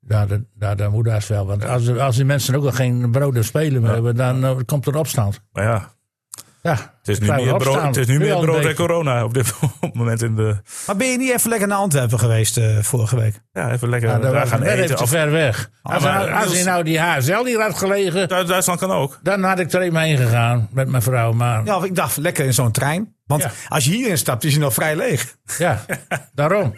B: Ja, dat, ja, dat moet haast wel. Want als, als die mensen ook al geen brood en spelen meer hebben, dan eh, komt er opstand.
A: Maar ja,
B: Ja,
A: het is nu
B: Zijn we
A: meer brood,
B: opstaan?
A: het is nu
B: Nu
A: meer
B: al een
A: brood en
B: beetje.
A: corona op dit moment in de...
D: Maar ben je niet even lekker naar Antwerpen geweest eh, vorige week?
A: Ja, even lekker
B: ja, dat
A: daar
B: was
A: gaan
B: net even
A: eten.
B: te
A: Of, Ah,
B: ver weg. Als,
A: maar,
B: nou- als
A: Niels-
B: hij nou die HSL hier had gelegen,
A: Du- Duitsland kan ook.
B: dan had ik er even heen gegaan met mijn vrouw. Maar ja,
D: Ja, of ik dacht lekker in zo'n trein. Want
B: Ja.
D: als je hierin stapt, is je nog vrij leeg.
B: daarom.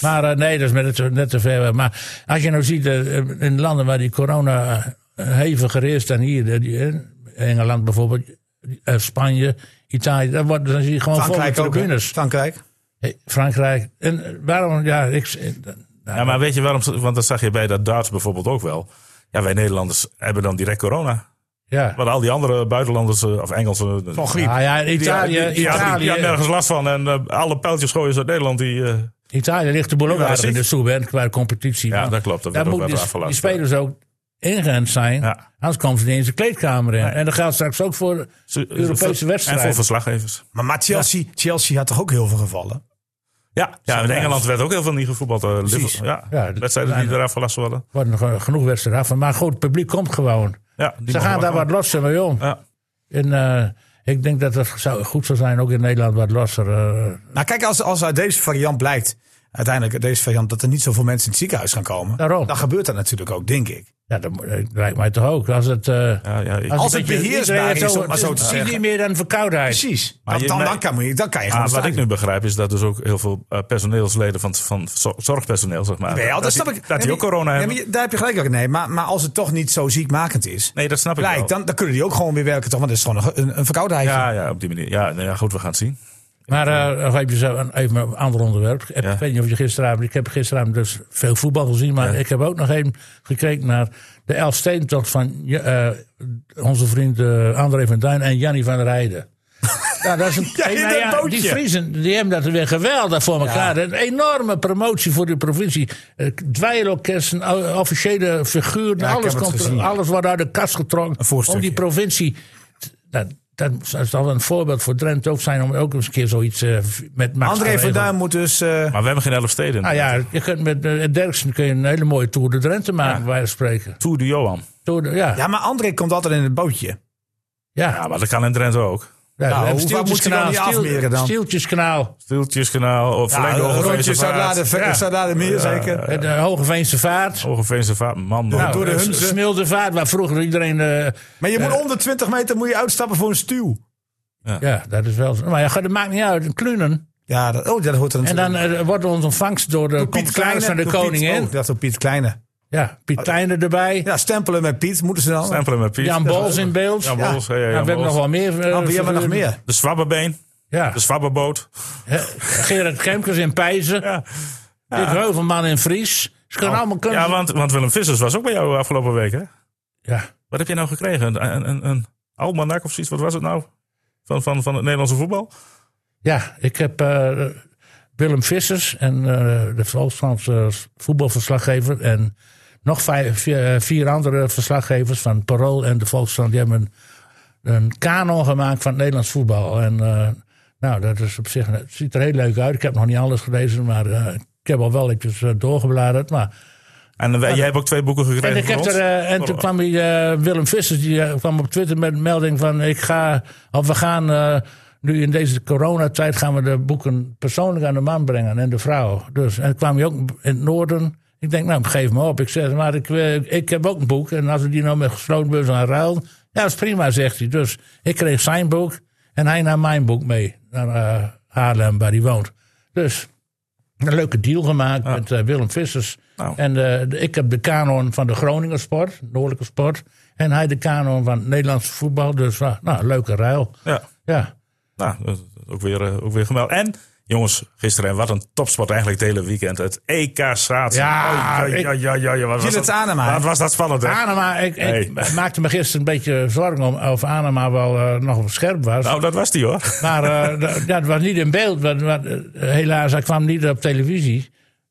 B: Maar eh, nee, dat is net, te- net te ver weg. Maar als je nou ziet, eh, in landen waar die corona eh, heviger is dan hier, eh, die- eh, Engeland bijvoorbeeld, eh, Spanje, Italië, dan, wordt, dan zie je gewoon volle
D: Frankrijk ook. hè?
B: tribunes.
D: Frankrijk.
B: Hey, Frankrijk. En eh, waarom? Ja, ik. eh, nou,
A: Ja, maar weet je waarom? ze- Want dat zag je bij dat darts bijvoorbeeld ook wel. Ja, wij Nederlanders hebben dan direct corona.
B: ja.
A: Maar al die andere buitenlanders eh, of Engelsen... eh,
D: Van griep.
B: Ah, ja, in
A: die-
B: Italië.
A: die- die- die- die- die
B: Italië.
A: had nergens last van. En eh, alle pijltjes gooien ze uit Nederland. Die, eh,
B: Italië ligt de boel ook
A: Ja,
B: aardig in de
A: precies.
B: soep hè, qua competitie.
A: Ja,
B: Maar
A: dat klopt. Dat
B: daar
A: wordt ook
B: moet
A: wel
B: die,
A: afgelast,
B: die spelers ook ingerend zijn.
A: Ja.
B: Anders komen ze niet eens de kleedkamer in. En dat geldt straks ook voor
A: Ze-
B: Europese
A: voor-
B: wedstrijden.
A: En voor verslaggevers.
D: Maar, maar Chelsea, Chelsea had toch ook heel veel gevallen?
A: Ja, ja in Engeland werd ook heel veel niet gevoetbald. eh, Liverpool- ja,
B: Ja, dat-
A: wedstrijden die
B: ja.
A: eraf gelast worden.
B: worden nog eh, genoeg wedstrijden af. Maar goed, het publiek komt gewoon.
A: Ja, die
B: Ze
A: mogen
B: gaan daar
A: wel
B: wat losser mee om.
A: Ja.
B: En eh, ik denk dat dat zou, goed zou zijn, ook in Nederland wat losser. eh,
D: Nou, kijk, als, als uit deze variant blijkt, uiteindelijk uit deze variant, dat er niet zoveel mensen in het ziekenhuis gaan komen.
B: Daarom.
D: Dan gebeurt dat natuurlijk ook, denk ik.
B: ja, dat, moet- dat lijkt mij toch ook. Als het, eh,
A: Ja, ja, ik-
B: als
D: Als
B: een
D: het
B: beetje-
D: beheersbaar
B: iedereen
D: is,
B: heeft
D: om maar zo te
B: het is
D: zeggen.
B: niet meer dan verkoudheid.
D: Precies.
A: Maar
D: Dan,
A: je-
D: dan,
A: nee.
D: dan kan, je- dan kan je gewoon
A: Ah, wat
D: staan.
A: ik nu begrijp is dat dus ook heel veel eh, personeelsleden van, van zo- zorgpersoneel, zeg maar.
D: Wel, dat,
A: die-
D: snap ik.
A: Dat
D: Nee,
A: die ook
D: maar-
A: corona
D: nee,
A: hebben.
D: maar je- daar heb je gelijk ook. Nee, maar, maar als het toch niet zo ziekmakend is,
A: Nee, dat snap ik wel.
D: blijkt, dan, dan kunnen die ook gewoon weer werken, toch? Want dat is gewoon een, een, een verkoudheid.
A: Ja, ja, op die manier. Ja, nou ja, goed, we gaan het zien.
B: Maar eh, nog even, zo, een- even een ander onderwerp. Ik, heb-
A: Ja.
B: ik weet niet of je gisteravond... Ik heb gisteravond dus veel voetbal gezien. Maar ik heb ook nog even gekeken naar de Elfsteentocht van eh, onze vriend eh, André van Duin en Jannie van der Heijden. Nou, dat is een,
D: Ja, in
B: nou
D: dat
B: die
D: bootje.
B: Friesen die hebben dat weer geweldig voor elkaar. Een enorme promotie voor de provincie. Eh, Dweilorkesten, o- officiële figuren.
D: ik
B: alles,
D: heb het
B: komt,
D: gezien, ja.
B: alles wordt uit de kast getrokken. Om
D: voorstukje.
B: die provincie dat, dat zal een voorbeeld voor Drenthe ook zijn om ook eens een keer zoiets eh, met Max te
D: André van
B: regelen.
D: Duin moet dus. eh,
A: Maar we hebben geen elf steden.
B: Nou ja, je kunt met eh, Derksen kun je een hele mooie Tour de Drenthe maken, bij wijze van spreken.
A: Tour de Johan.
B: Tour de- ja, ja.
D: ja, maar André komt altijd in het bootje.
A: Ja,
B: ja.
A: maar dat kan in Drenthe ook.
B: we hebben
D: hoe vaak moet je dan
B: Stieltjeskanaal,
D: niet afmeren dan?
B: Stieltjeskanaal,
A: Stieltjeskanaal, of verlengde Hogeveense
D: Ah, Rondje
A: Vaart.
B: Ja.
D: Saudade meer zeker.
B: eh, de Hogeveense Vaart.
A: Hogeveense Vaart, man. man.
B: Nou,
D: door de
B: eh,
D: Hunze.
B: Smilde Vaart, waar vroeger iedereen... eh,
D: Maar je moet onder 20 meter moet je uitstappen voor een stuw.
B: ja, dat is wel zo. Maar ja, goed, dat maakt niet uit. Klunen.
D: Ja, dat, oh, dat hoort er
B: En
D: natuurlijk
B: dan eh, wordt ons ontvangst door de
D: bij. Piet
B: commissaris van de
D: door Piet-
B: koningin.
D: oh, dat door Piet Kleine.
B: Ja, Piet Kleine erbij.
D: Ja, stempelen met Piet moeten ze dan.
A: Stempelen met Piet.
B: Jan Bols in beeld.
A: Jan Bols, ja, ja,
B: Nou,
A: Jan
B: we hebben
A: Bols.
B: nog wel meer. eh,
D: Dan Nou, wie hebben we nog
B: figuren.
D: meer?
A: De Swabberbeen,
B: Ja.
A: de Swabberboot.
B: Hè, Gerard Kemkers in Pijzen.
A: Ja. Oh.
B: Dick Heuvelman in Fries. Ze kunnen allemaal kunnen.
A: Ja, want, want Willem Vissers was ook bij jou afgelopen week, hè?
B: Ja.
A: Wat heb je nou gekregen? Een, een, een, een almanak of zoiets? Wat was het nou? Van, van, van het Nederlandse voetbal?
B: Ja, ik heb eh, Willem Vissers en eh, de Volkskrantse voetbalverslaggever. En nog vijf, vier, eh, vier andere verslaggevers van Parool en de Volkskrant. Die hebben een, een kanon gemaakt van het Nederlands voetbal. En eh, nou, dat is op zich. Het ziet er heel leuk uit. Ik heb nog niet alles gelezen, maar eh, ik heb al wel eventjes eh, doorgebladerd. Maar
A: En eh, jij hebt ook twee boeken gekregen
B: En, ik
A: van
B: heb
A: ons.
B: er, eh, en toen kwam die, eh, Willem Vissers die, eh, kwam op Twitter met een melding van... Ik ga, of we gaan eh, nu in deze coronatijd gaan we de boeken persoonlijk aan de man brengen en de vrouw. Dus, en kwam hij ook in het noorden. Ik denk, nou, geef me op. Ik zeg, maar ik, eh, ik heb ook een boek. En als we die nou met gesloten beurs aan ruilen... Ja, dat is prima, zegt hij. Dus ik kreeg zijn boek en hij nam mijn boek mee naar eh, Haarlem, waar hij woont. Dus een leuke deal gemaakt met eh, Willem Vissers.
A: Nou.
B: En eh, de- ik heb de kanon van de Groninger sport, Noordelijke sport. En hij de kanon van het Nederlandse voetbal. Dus ah, nou, leuke ruil.
A: Ja.
B: Ja,
A: Nou, dat is ook weer, eh, ook weer gemeld. En jongens, gisteren, en wat een topsport eigenlijk het hele weekend. Het E EK Schaatsen.
B: Ja,
A: Oh, ja, ja, ja, ja, ja. Wat was
D: Gilles
A: dat,
D: Anema.
A: wat was dat spannend, hè?
B: Anema, ik, ik
A: Hey.
B: maakte me gisteren een beetje zorgen om of Anema wel eh, nog op scherp was.
A: Nou, dat was die, hoor.
B: Maar eh, dat- dat was niet in beeld. want- want, eh, helaas, hij kwam niet op televisie.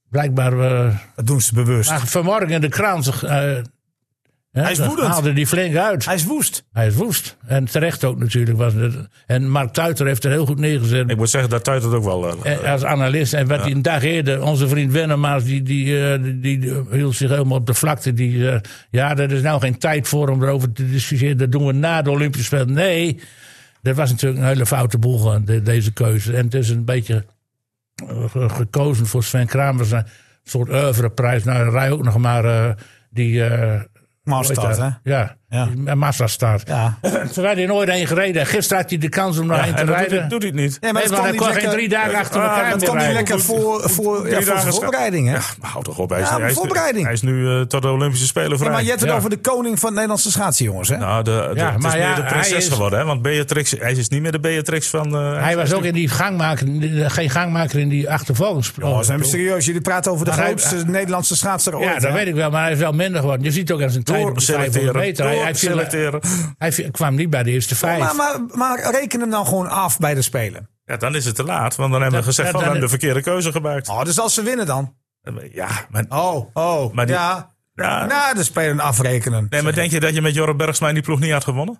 B: Blijkbaar, eh,
D: Dat doen ze bewust.
B: maar vanmorgen in de krant eh, hè,
D: is woedend.
B: haalde die flink uit.
D: Hij is woest.
B: Hij is woest. En terecht ook natuurlijk. Was het. En Mark Tuiter heeft er heel goed neergezet.
A: Ik moet zeggen, dat tuit het ook wel. eh,
B: eh, Als analist. En wat hij een dag eerder, onze vriend Wennemaas, die, die, eh, die, die hield zich helemaal op de vlakte. Die, eh, ja, er is nou geen tijd voor om erover te discussiëren. Dat doen we na de Olympische Spelen. Nee, dat was natuurlijk een hele foute boel, eh, de- deze keuze. En het is een beetje eh, ge- gekozen voor Sven Kramers. Een soort oeuvreprijs. Nou, rij ook nog maar eh, die... eh, hoe
D: Maar
B: heet
D: staat, hè?
B: dat? Ja,
D: Ja.
B: die massa staat.
D: Ja.
B: Terwijl hij nooit heen gereden. Gisteren had hij de kans om
A: Ja,
B: daarheen
A: en
B: te
A: dat doet,
B: rijden.
A: hij- doet hij het niet.
D: Nee,
B: Nee,
D: maar
B: maar
D: dat
B: hij
D: kan
B: kon
D: niet
B: geen drie
D: lekker,
B: dagen achter
A: Ah,
B: elkaar
A: dat
B: meer
D: kan niet
B: rijden.
D: lekker voor, voor, ja,
A: Drie
D: voor
A: dagen
D: de
A: scha-
D: voorbereiding, hè?
A: Ja, maar hou toch op. Hij is,
D: Ja, maar
A: hij is nu-
D: voorbereiding.
A: hij is nu eh, tot de Olympische Spelen vrij.
D: Ja, maar je hebt het
B: Ja.
D: over de koning van het Nederlandse schaatsen, jongens. Hè?
A: Nou, de, de-
B: Ja,
A: het
B: maar
A: is
B: ja,
A: meer de
B: hij
A: prinses
B: is-
A: geworden, hè? Want Beatrix, hij is niet meer de Beatrix van... eh,
B: Hij was ook in die gangmaker, geen gangmaker in die achtervolgings.
D: Oh, zijn we serieus? Jullie praten over de
B: Maar hij-
D: grootste Nederlandse schaatser ooit.
B: ja, dat
D: hè?
B: weet ik wel, maar hij is wel minder geworden. Je ziet ook aan zijn tijd op de 500
A: doorselecteren.
B: meter. Hij, hij, viel-
A: Doorselecteren.
B: hij viel- kwam niet bij de eerste vijf.
D: Maar, maar, maar reken hem dan gewoon af bij de Spelen.
A: Ja, dan is het te laat, want dan hebben we
B: Dat-
A: gezegd:
B: dat-
A: van, we hebben
B: dat-
A: de verkeerde keuze gemaakt.
D: Oh, dus als ze winnen dan?
A: Ja, maar,
D: Oh, oh.
A: Maar die-
D: ja.
A: ja,
D: Nou, de spelen afrekenen.
A: nee, maar denk je dat je met Jorrit Bergsma in die ploeg niet had gewonnen?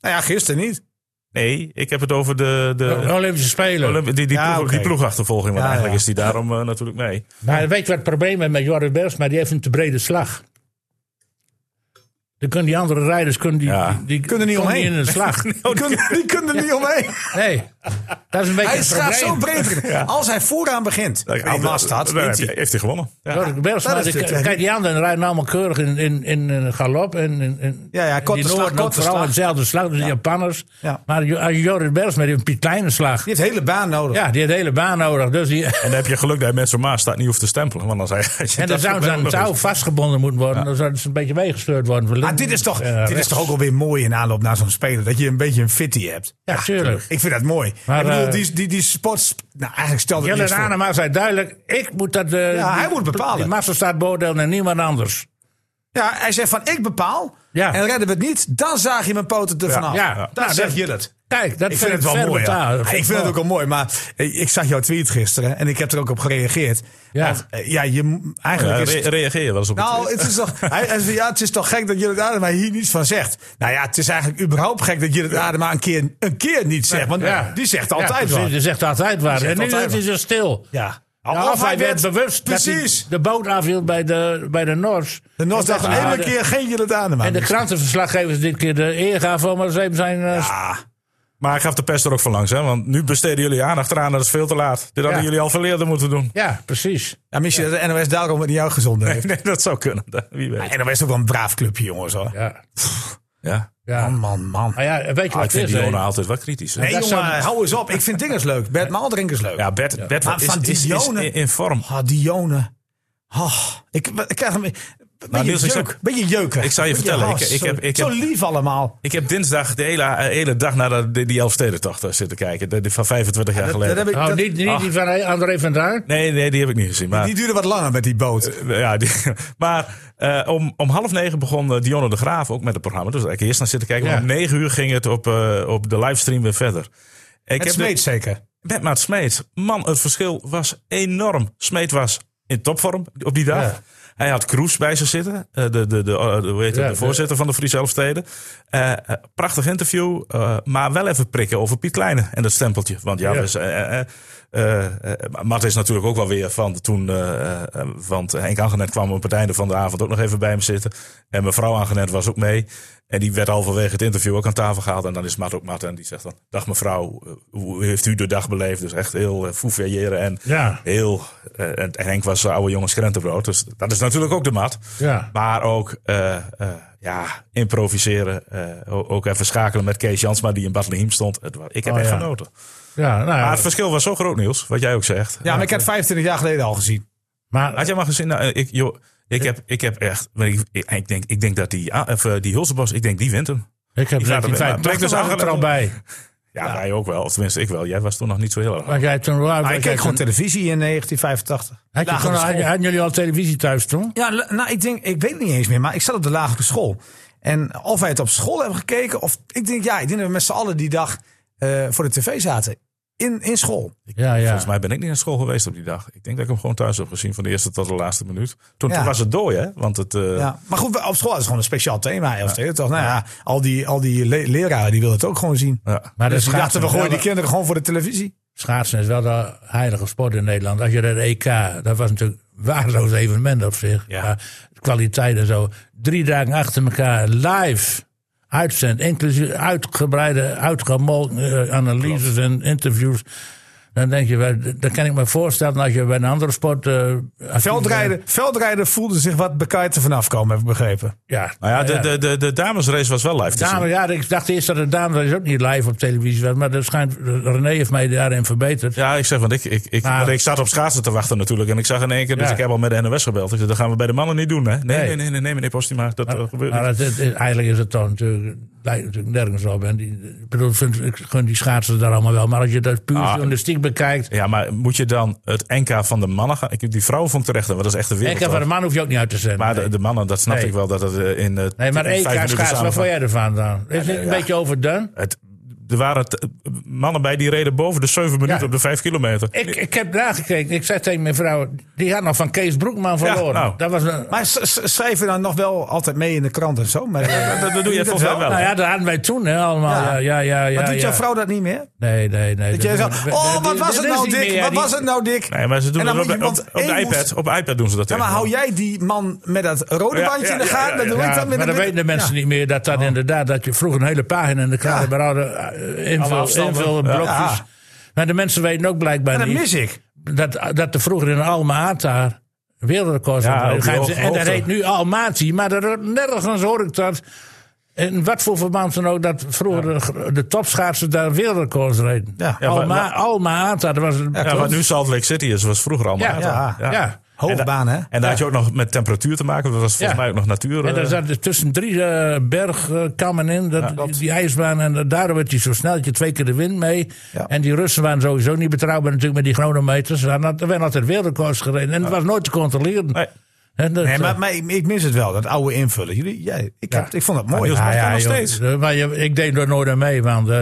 D: Nou ja, gisteren niet.
A: Nee, ik heb het over de,
B: Oh,
A: de
B: Olympische Spelen.
A: Olymp- die, die,
D: Ja,
A: ploeg-
D: oké.
A: die ploegachtervolging. Want
D: Ja,
A: eigenlijk
D: ja.
A: is die daarom eh, natuurlijk mee.
B: Maar weet je wat het probleem is met Jorrit Bergsma? Die heeft een te brede slag. Dan kunnen die andere rijders kunnen die,
A: Ja.
B: die, die
D: Kunnen niet
B: komen
D: omheen.
B: in de slag.
D: Die kunnen, die kunnen er niet omheen.
B: Nee, dat is een beetje
D: Hij
B: het
D: gaat zo
B: probleem.
D: breed. Als hij vooraan begint, dan was dat.
A: Dan
D: wint
A: heb je-
D: hij.
A: heeft hij gewonnen. Ja.
B: Jorrit Bergsma,
D: dat is
B: die-
D: het, ja.
B: kijk die anderen rijden allemaal keurig in, in, in, eh, galop. En, in, in,
D: Ja, ja,
B: en
D: korte
B: die
D: slag,
B: Noorden ook
D: korte
B: vooral
D: slag.
B: hetzelfde slag, dus de Japanners.
D: Ja.
B: Maar Jo- als Jorrit Bergsma die heeft een kleine slag.
D: Die heeft hele baan nodig.
B: Ja, die heeft de hele baan nodig. Dus die,
A: En dan heb je geluk dat je met zo'n maas staat niet hoeft te stempelen. Want dan zei
B: en dan zou ze aan het touw vastgebonden moeten worden. Dan zou ze een beetje meegesleurd worden. Eh,
D: Maar dit is toch,
B: Ja,
D: dit is
B: rechts.
D: toch ook alweer mooi in aanloop naar zo'n speler. Dat je een beetje een fitty hebt.
B: Ja, tuurlijk.
D: Ik vind dat mooi.
B: Maar,
D: ik bedoel,
B: eh,
D: die, die, die sports... Nou, eigenlijk stelde het
B: Jelle
D: niks voor.
B: Anema zei duidelijk: ik moet dat. eh,
D: Ja, hij
B: die-
D: moet bepalen.
B: Die massa staat beoordelen en niemand anders.
D: Ja, hij zegt van, ik bepaal.
B: Ja.
D: En redden we het niet, dan zaag je mijn poten ervan af.
B: ja.
D: Dat
B: Nou,
D: zegt
B: dat-
D: Jelle het.
B: Kijk, dat
D: Ik vind het wel
B: ver
D: mooi.
B: betaald.
D: Ja.
B: Dat
D: Ik vind het
B: wel-
D: ook wel mooi, maar ik, ik zag jouw tweet gisteren en ik heb er ook op gereageerd.
B: Ja.
D: Want, eh, ja, je, m- eigenlijk is het-
A: reageer je wel eens op het.
D: Nou, het is toch, hij, hij zei, ja, het is toch gek dat Jillet Adema hier niets van zegt. Nou ja, het is eigenlijk überhaupt gek dat Jillet Adema een keer, een keer niets zegt. Want
B: Ja.
D: die zegt
B: Ja,
D: altijd
B: precies,
D: wat.
B: Die zegt altijd waar.
D: zegt
B: En nu is
D: altijd
B: hij zo stil.
D: Ja.
B: Ja, of hij werd bewust
D: Precies.
B: dat hij de boot afhield bij de, bij de Nors.
D: De Nos dacht
B: En dat-
D: een
B: ah,
D: hele
B: de-
D: keer geen Jillet Adema.
B: En de krantenverslaggevers dit keer de eer gaven om eens even zijn... eh,
D: Ah,
A: Maar ik gaf de pest er ook van langs. Hè? Want nu besteden jullie aandacht eraan. Dat is veel te laat. Dit hadden
B: Ja.
A: jullie al veel eerder moeten doen.
B: ja, precies.
D: ja, misschien dat de NOS daarom het niet uitgezonden heeft.
A: Nee, dat zou kunnen. Dat- Wie weet.
D: En NOS is ook wel een braaf clubje, jongens. Hoor.
B: Ja.
A: Ja.
B: Ja.
D: Man, man, man.
B: Maar ja, weet je
A: Ah,
B: wat
A: ik
B: het
A: vind
B: is? hè?
A: Diona altijd wat kritisch. hè.
D: Nee,
B: dat
D: jongen,
B: zou-
D: hou eens op. Ik vind dingen leuk. Bert Maaldrink is leuk.
A: Ja, Bert, Bert
D: Maar
A: is,
D: van
A: is, is
D: Dione-
A: in, in vorm.
D: Ah, Dione. Ah, ik, ik krijg hem... Ben je
A: Niels, ik
D: jeuk?
A: zou-
D: Ben je jeuker?
A: ik zou je
D: Ben
A: vertellen,
D: ah,
A: ik- ik
D: zo-
A: heb- ik
D: Zo
A: heb-
D: lief allemaal.
A: Ik heb dinsdag de hele, eh, hele dag naar de- die, die Elfstedentocht eh, zitten kijken. De- die van 25 jaar
D: Dat
A: geleden.
D: heb ik-
B: Nou,
D: dat-
B: niet, niet die van André van Duin.
A: Nee, nee, die heb ik niet gezien. Maar,
D: Die duurde wat langer met die boot.
A: Eh, Ja, die- maar eh, om, om half negen begon eh, Dionne de Graaf ook met het programma. Dus ik eerst naar zitten kijken. want
B: Ja.
A: om negen uur ging het op, eh, op de livestream weer verder. Ik
D: Het
A: de-
D: smeet zeker.
A: met Maat Smeet. Man, het verschil was enorm. Smeet was in topvorm op die dag.
B: Ja.
A: Hij had Kroes bij zich zitten, eh, de, de, de, eh, de, hoe heet het,
B: Ja,
A: de
B: de-
A: voorzitter van de Friese Elfsteden. Eh, eh, prachtig interview, eh, maar wel even prikken over Piet Kleine en dat stempeltje. Want ja,
B: Ja.
A: we zijn, eh, eh, eh, eh, maar Mart is natuurlijk ook wel weer van toen, eh, eh, want Henk Angenet kwam op het einde van de avond ook nog even bij hem zitten. En mevrouw Angenet was ook mee. En die werd halverwege het interview ook aan tafel gehaald. En dan is Mart ook Mart en die zegt dan, dag mevrouw, eh, hoe heeft u de dag beleefd? Dus echt heel uh, en
B: Ja.
A: heel, eh, en en Henk was de oude jongens krentenbrood. Dus dat is natuurlijk ook de mat.
B: Ja.
A: Maar ook eh, eh, ja, improviseren. eh, o- ook even schakelen met Kees Jansma die in Bethlehem stond. Het, wa- ik heb
B: Oh,
A: echt
B: ja.
A: genoten.
B: Ja, nou ja.
A: Maar het verschil was zo groot, Niels. Wat jij ook zegt.
D: Ja, maar ik heb het 25 jaar geleden al gezien.
B: Maar
A: Had jij maar gezien? Nou, eh, ik, joh, ik, heb, ik heb echt. maar Ik, ik, ik denk, ik denk dat die, ah, of, eh, die Hulsebos, ik denk die wint hem.
B: ik heb
A: Die zaten- maar-
B: 1985
A: maar-
B: dus er al bij.
A: Ja, wij ook wel. Of tenminste, ik wel. Jij was toen nog niet zo heel erg.
B: Maar jij toen, waar,
D: Maar ik keek gewoon televisie in 1985.
B: Had je
D: Lagere
B: toen,
D: school.
B: had- hadden jullie al televisie thuis toen?
D: Ja, l- nou, ik denk, ik weet het niet eens meer, maar ik zat op de lagere school. En of wij het op school hebben gekeken, of ik denk, ja, ik denk dat we met z'n allen die dag eh, voor de tv zaten. In, in school.
B: Ja, ja.
A: Volgens mij ben ik niet naar school geweest op die dag. Ik denk dat ik hem gewoon thuis heb gezien van de eerste tot de laatste minuut. Toen,
D: Ja.
A: toen was het dooi, hè? Want het. eh,
D: Ja. Maar goed, we- op school hadden ze gewoon een speciaal thema. Ja. Toch? Nou ja, al die, al die le- leraren die wilden het ook gewoon zien.
A: ja.
B: Maar
D: Dus we dachten, we
B: is wel
D: gooien die
B: de-
D: kinderen gewoon voor de televisie.
B: schaatsen is wel de heilige sport in Nederland. Als je naar de EK, dat was natuurlijk een waardeloos evenement op zich.
A: Ja.
B: Maar kwaliteit en zo. Drie dagen achter elkaar live uitzend. Inclusief uitgebreide, uitgemolken eh, analyses en interviews. Dan denk je, wel, dat kan ik me voorstellen als je bij een andere sport... eh, actief
D: Veldrijden, veldrijden voelden zich wat bekijkt er vanaf komen, heb ik begrepen.
B: bent. Ja,
A: Nou ja, de, de, de, de damesrace was wel live te
B: Dame,
A: zien.
B: ja, ik dacht eerst dat de dame is ook niet live op televisie was. Maar dat schijnt, René heeft mij daarin verbeterd.
A: Ja, ik zeg, want ik, ik, ik,
B: Maar-
A: want ik zat op schaatsen te wachten natuurlijk. En ik zag in één keer, dus
B: Ja.
A: ik heb al met de NOS gebeld. Ik zei, dat gaan we bij de mannen niet doen, hè? Nee, nee,
B: Nee.
A: nee, nee, nee, meneer Postuma, dat eh, gebeurt
B: Maar
A: niet.
B: het, het Nou, is- eigenlijk is het dan natuurlijk, lijkt het natuurlijk nergens op. En die, ik bedoel, ik vind, ik gun die schaatsen daar allemaal wel. Maar als je dat puur
A: Ah.
B: journalistiek bekijkt.
A: Ja, maar moet je dan het NK van de mannen gaan? Ik, die vrouwen vond ik terecht, want dat is echt de
B: EK
A: wereld.
B: van de man hoef je ook niet uit te zenden.
A: Maar
B: nee.
A: de, de mannen, dat snap
B: Nee.
A: ik wel, dat het eh, in eh,
B: Nee, maar
A: in vijf minuten
B: EK schaatsen, wat
A: samenvat-
B: vond jij ervan dan? Is het
A: nee,
B: een
A: ja.
B: beetje overdone?
A: Het er waren t- mannen bij die reden boven de 7 minuten
B: Ja.
A: op de 5 kilometer.
B: Ik, ik heb nagekeken. Ik zei tegen mijn vrouw, die had nog van Kees Broekman verloren.
A: nou.
B: Dat was een,
D: Maar s- s- schrijven dan nog wel altijd mee in de krant en zo. Maar, eh,
A: dat, dat doe je
D: dat
A: volgens mij
D: wel?
A: wel.
B: nou ja, dat hadden wij toen hè, allemaal. Ja,
D: Ja.
B: ja, ja. ja
D: maar doet
B: ja.
D: jouw vrouw dat niet meer?
B: Nee, nee, nee.
D: Dat jij zo, oh, wat was het nou, Dick? Wat was het nou, Dick?
A: Nee, maar ze doen
D: En dan
A: dat op,
D: moet je-
A: op,
D: want
A: op de
D: één
A: iPad.
D: moest-
A: Op iPad doen ze dat
D: Ja, maar
A: tegenwoordig.
D: hou jij die man met dat rode
A: Ja,
D: bandje in de
A: ja,
D: gaten?
A: ja,
D: dat doe
A: ja, ja.
D: ik dan met
B: maar
D: de
B: dan weten de mensen niet meer dat dat
A: Oh.
B: inderdaad, dat je vroeg een hele pagina in de krant
D: Ja.
B: ja. eh, invul,
A: afstanden.
B: invulblokjes.
D: Ja.
B: Maar de mensen weten ook blijkbaar
D: dat
B: niet
D: mis ik.
B: dat, dat er vroeger in Alma Ata wereldrecord
A: Ja,
B: van
A: op die
B: gaan ze-
A: hoge
B: En dat
A: hoogte.
B: heet nu Almaty, maar er, nergens hoor ik dat. In wat voor verband dan ook, dat vroeger de, de topschaatsers daar wereldrecords reden.
D: Ja.
A: Ja,
B: Alma,
A: maar-
B: Alma Ata, dat was een.
A: Ja, wat nu Salt Lake City is, was vroeger allemaal.
B: Ja,
A: Ata.
D: ja,
B: ja.
D: Hoogbaan, hè?
A: En daar had je ook nog met temperatuur te maken. Dat was volgens
B: Ja.
A: mij ook nog natuur.
B: En
A: eh,
B: daar zaten tussen drie eh, bergkammen in, dat, die, die ijsbaan. En dat- daardoor werd hij zo snel, dat je twee keer de wind mee.
D: Ja.
B: En die Russen waren sowieso niet betrouwbaar natuurlijk met die chronometers. Ze hadden- Er werden altijd wereldrecords gereden. En het was nooit te controleren.
A: Nee.
B: En dat,
D: Nee,
B: eh,
D: maar, maar ik, ik mis het wel, dat oude invullen. Jullie, jij, ik, heb,
B: Ja.
D: ik vond dat mooi.
A: Niels
D: Ja,
A: mag
D: ja,
A: dat nog
D: joh.
A: steeds.
B: Eh, Maar je, ik deed er nooit aan mee, want... eh,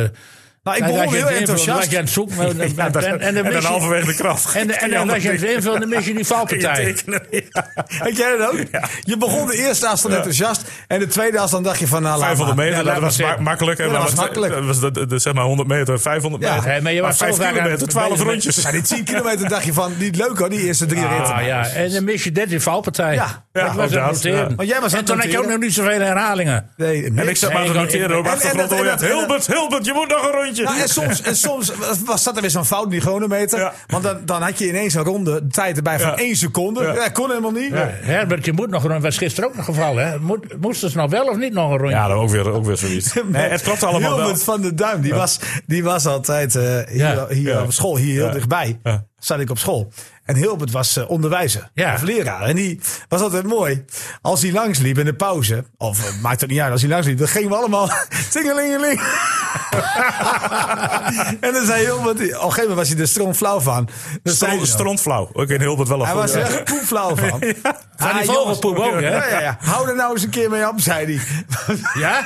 D: Nou, ik
B: als
D: begon
B: je
D: heel
B: het invult, was
D: enthousiast.
B: je aan het zoeken. en- en-
A: ja, dat-
B: en-
A: en
B: en dan mis
A: dan
B: je-
A: halverwege de kracht.
B: En, en, en als je het invult, dan mis je die valpartij.
D: Had jij dat ook? Je begon de eerste as van enthousiast. En de tweede as, dan dacht je van... Nou, laat
A: 500
D: maar.
A: meter,
B: Ja,
A: dat
B: laat
A: was ma-
B: maar zitten.
A: makkelijk. En
D: Ja, dat
A: dan
D: was makkelijk.
A: Dat was de, de, zeg maar 100 meter, 500
D: Ja.
A: meter.
B: Nee, maar je was zo
A: 5
B: vaak aan-
A: kilometer, 12
B: bezig met-
A: rondjes.
D: Maar die 10 kilometer dacht je van, niet leuk hoor, die eerste drie ritten.
B: Ah, ja. En dan mis je dit die valpartij.
D: Ja,
B: dat
A: ja,
B: was
A: ook
B: het
A: dat,
B: noteren.
A: ja.
D: Maar jij was aan
B: en
D: het
B: toen had je ook
D: noteren.
B: nog niet zoveel herhalingen.
D: Nee,
A: En
D: niks.
A: ik zat maar te
B: Nee, ik-
A: noteren op
D: en- en
A: achtergrond.
D: dat-
A: hoor je
D: en
A: het.
D: dat-
A: Hilbert, Hilbert, je moet nog een rondje.
D: Nou, en, soms, en soms was dat er weer zo'n fout in die chronometer.
A: Ja.
D: Want dan, dan had je ineens een ronde tijd erbij van
A: Ja.
D: 1 seconde.
A: Ja.
D: Ja. kon helemaal niet.
B: Ja, Eh, Herbert, je moet nog een was gisteren ook nog gevallen. Hè? Moet, moesten ze nou wel of niet nog een rondje?
A: Ja, dat ook weer, ook weer zoiets. Nee, het klopt allemaal wel.
D: Hilbert van de Duim, die, was, die was altijd eh, hier,
B: Ja.
D: hier
A: Ja.
D: op school, hier heel
A: Ja.
D: dichtbij.
A: Ja.
D: Zat ik op school. En Hilbert was eh, onderwijzer
B: Ja.
D: of leraar. En die was altijd mooi. Als hij langsliep in de pauze, of eh, maakt het niet uit, als hij langsliep, dan gingen we allemaal tingelingeling. en dan zei Hilbert, op een gegeven moment was hij er stroomflauw van. Dan zei
A: Stro-
D: hij dan-
A: Strondflauw. Ik weet Hilbert wel een
D: Hij
A: goeie.
D: was er echt poepflauw van.
B: Van die
D: Ah,
B: vogelpoep
D: jongens.
B: ook, hè?
D: Ja, ja, ja. Hou er nou eens een keer mee op, zei hij.
B: Ja?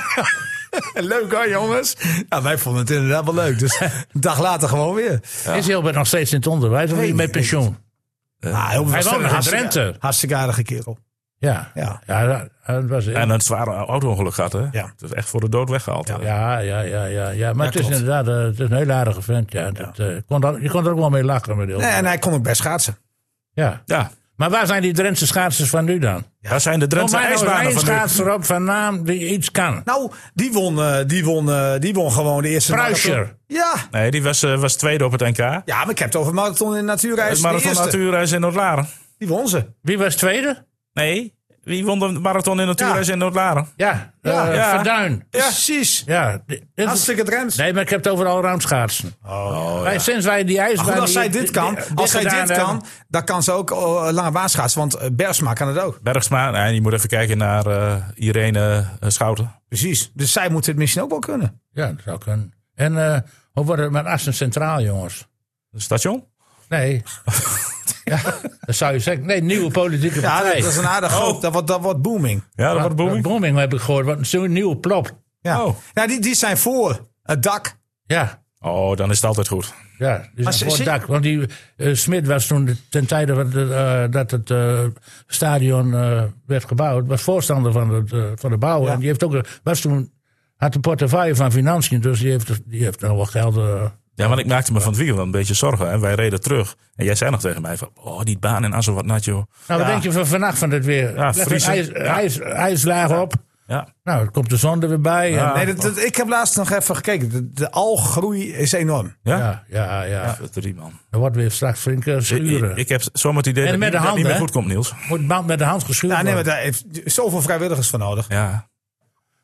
D: Leuk hoor, jongens. Nou, wij vonden het inderdaad wel leuk. Dus een dag later gewoon weer.
B: Is Herbert nog steeds in het onderwijs of is hij
D: niet,
B: met
D: weet
B: pensioen?
D: Ah, heel
B: Eh, Hij woont
D: verstandig.
B: nog in
D: Hartstikke-
B: Drenthe.
D: Hartstikke aardige kerel.
B: Ja.
D: Ja.
B: Ja, dat, dat was,
A: En eh, een zware auto-ongeluk gehad, hè?
D: Ja.
A: Dat is echt voor de dood weggehaald. hè?
B: Ja, ja, ja, ja, ja. Maar
D: Ja,
B: het is
D: klopt.
B: inderdaad eh, het is een heel aardige vent. Ja. Dat, eh, kon daar- je kon er ook wel mee lachen met die
D: Nee,
B: auto.
D: en hij kon ook best schaatsen.
B: ja.
A: Ja.
B: Maar waar zijn die Drentse schaatsers van nu dan?
A: Daar zijn de
B: Noem
A: Drentse
B: mij nou
A: ijsbanen
B: één
A: van nu.
B: schaatser op van naam die iets kan.
D: Nou, die won, eh, die won, eh, die won gewoon de eerste marathon.
B: Pruischer.
D: Ja.
A: Nee, die was, eh, was tweede op het NK. Het
D: ja, maar ik heb het over marathon in
B: Eh,
D: natuurreis. de
A: marathon
D: eerste.
A: natuurreis in Noord-Laren.
D: Die won ze.
B: Wie was tweede?
A: Nee, wie won de marathon in natuurreis in Noord-Laren?
B: Ja,
D: Ja.
B: eh,
A: Ja.
B: Verduin.
D: Precies.
B: Ja, dit- dit-
D: Hartstikke Drents.
B: nee, maar ik heb het over allround schaatsen. Wij- Sinds wij die ijsbaan...
D: Oh, Maar goed, als
B: die-
D: zij dit
B: die-
D: kan,
B: die-
D: als zij
B: gedaan
D: dit kan,
B: hebben-
D: dan kan ze ook eh, lange baan schaatsen. Want eh, Bersma kan het ook.
A: Bergsma. Nee, je moet even kijken naar eh, Irene eh, Schouten.
D: Precies. Dus zij moet dit misschien ook wel kunnen.
B: Ja, dat zou kunnen. En eh, hoe wordt het met Assen Centraal, jongens?
A: Station?
B: Nee. ja, dat zou je zeggen. Nee, nieuwe politieke
D: Ja,
B: partij.
D: dat is een aardig groep. Dat wordt, dat wordt booming.
A: Ja, dat
B: Maar-
A: wordt booming.
B: Booming heb ik gehoord. Wat een zo'n nieuwe plop.
D: Ja.
A: Oh.
D: Nou, die, die zijn voor het dak.
B: Ja.
A: Oh, dan is het altijd goed.
B: Ja, dus
D: ze-
B: een groot
D: ze-
B: dak. Want die eh, Smit was toen de- ten tijde van de, eh, dat het eh, stadion eh, werd gebouwd, was voorstander van, het, eh, van de bouw. En die heeft ook, een- was toen, had de portefeuille van Financiën, dus die heeft, die heeft nog wel geld. eh,
A: Ja, want ik maakte me van het weekend wel een beetje zorgen. En wij reden terug. En jij zei nog tegen mij van, oh, die baan in Assen, wat nat, joh.
B: Nou, wat
D: Ja.
B: denk je van vannacht van dit weer?
A: Ja,
B: Leg een
A: vriezen.
B: ijs, ijs, ijslaag op.
A: Ja.
B: Nou, dan komt de zon er weer bij. en-
A: Ja.
D: Nee, dat, dat- ik heb laatst nog even gekeken. De, de algroei is enorm.
A: Ja?
B: ja, ja, ja.
A: Dat Drie man.
B: Er wordt weer straks flinke schuren.
A: Ik, ik heb zomaar het idee
B: En
A: dat
B: met
A: niet-
B: de
A: dat niet
B: handen,
A: meer
B: hè?
A: goed komt, Niels.
B: Moet band met de hand geschuurd
D: Ja, nee, maar
B: worden.
D: daar heeft zoveel vrijwilligers voor nodig.
A: Ja,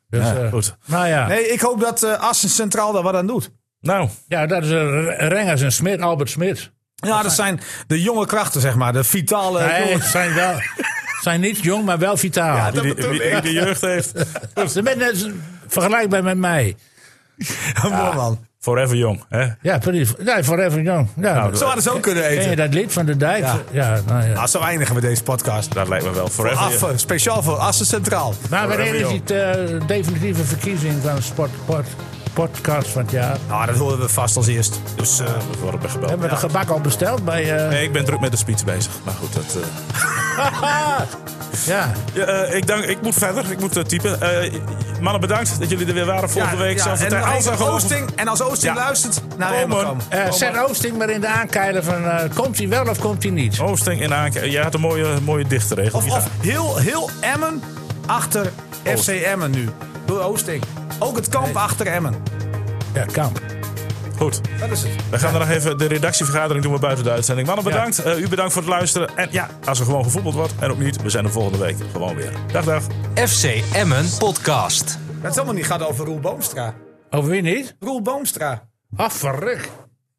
B: Dus,
A: ja,
B: eh,
A: goed.
B: Nou ja.
D: Nee, ik hoop dat eh, Assen Centraal daar wat aan doet.
A: Nou,
B: ja, dat is eh, R- Rengers en Smit, Albert Smit.
D: Ja, dat zijn de jonge krachten, zeg maar. De vitale
B: Nee,
D: jongens.
B: ze zijn, wel, zijn niet jong, maar wel vitaal.
A: die, die, die- die jeugd heeft.
B: Ze zijn net vergelijkbaar met mij.
D: Mooi man.
A: Forever jong, hè?
B: Ja, precies. Ja, forever jong. Ja,
D: Zo hadden ze ook kunnen
B: ken je
D: eten.
B: dat lied van de dijk? Nou, Ja.
D: Ja.
B: nou ja.
D: Nou, zo eindigen we deze podcast.
A: Dat lijkt me wel. Forever
D: Af,
A: jong.
D: eh, speciaal voor Assen Centraal.
B: Maar wanneer
A: Forever
B: is
A: Young.
B: die eh, definitieve verkiezing van Sport, sport podcast van het jaar.
D: Nou, dat horen we vast als eerst. Dus eh,
A: We worden gebeld.
B: Hebben we de gebak al besteld bij... eh
A: Nee, ik ben druk met de speech bezig. Maar goed, dat... eh,
B: ja.
A: Ja, eh, ik, dank, ik moet verder, ik moet eh, typen. Eh, mannen, bedankt dat jullie er weer waren volgende
D: ja,
A: week.
D: ja,
A: Zal
D: en,
A: vertellen- als er
D: als
A: gewoon-
D: Oosting, en als Oosting
A: Ja.
D: luistert, naar
A: Komen.
D: Emmen komen.
B: Eh, zet Oosting maar Oh. in de aankeilen van... eh, komt hij wel of komt hij niet?
A: Oosting in Aanke. Jij had een mooie, mooie dichtregel.
D: Of,
A: Ja.
D: of heel, heel Emmen achter FC Emmen nu. Door Oosting. Ook het kamp achter Emmen.
B: Ja, kamp.
A: Goed,
D: Dat is het.
A: we gaan er nog even de redactievergadering doen we buiten de uitzending. Mannen, bedankt. Eh, u bedankt voor het luisteren. En ja, als er gewoon gevoetbald wordt en ook niet, we zijn er volgende week gewoon weer. Dag, dag.
C: FC Emmen podcast.
D: Dat is allemaal niet gaat over Roel Boomstra.
B: Over wie niet?
D: Roel Boomstra.
B: Ah, verrek.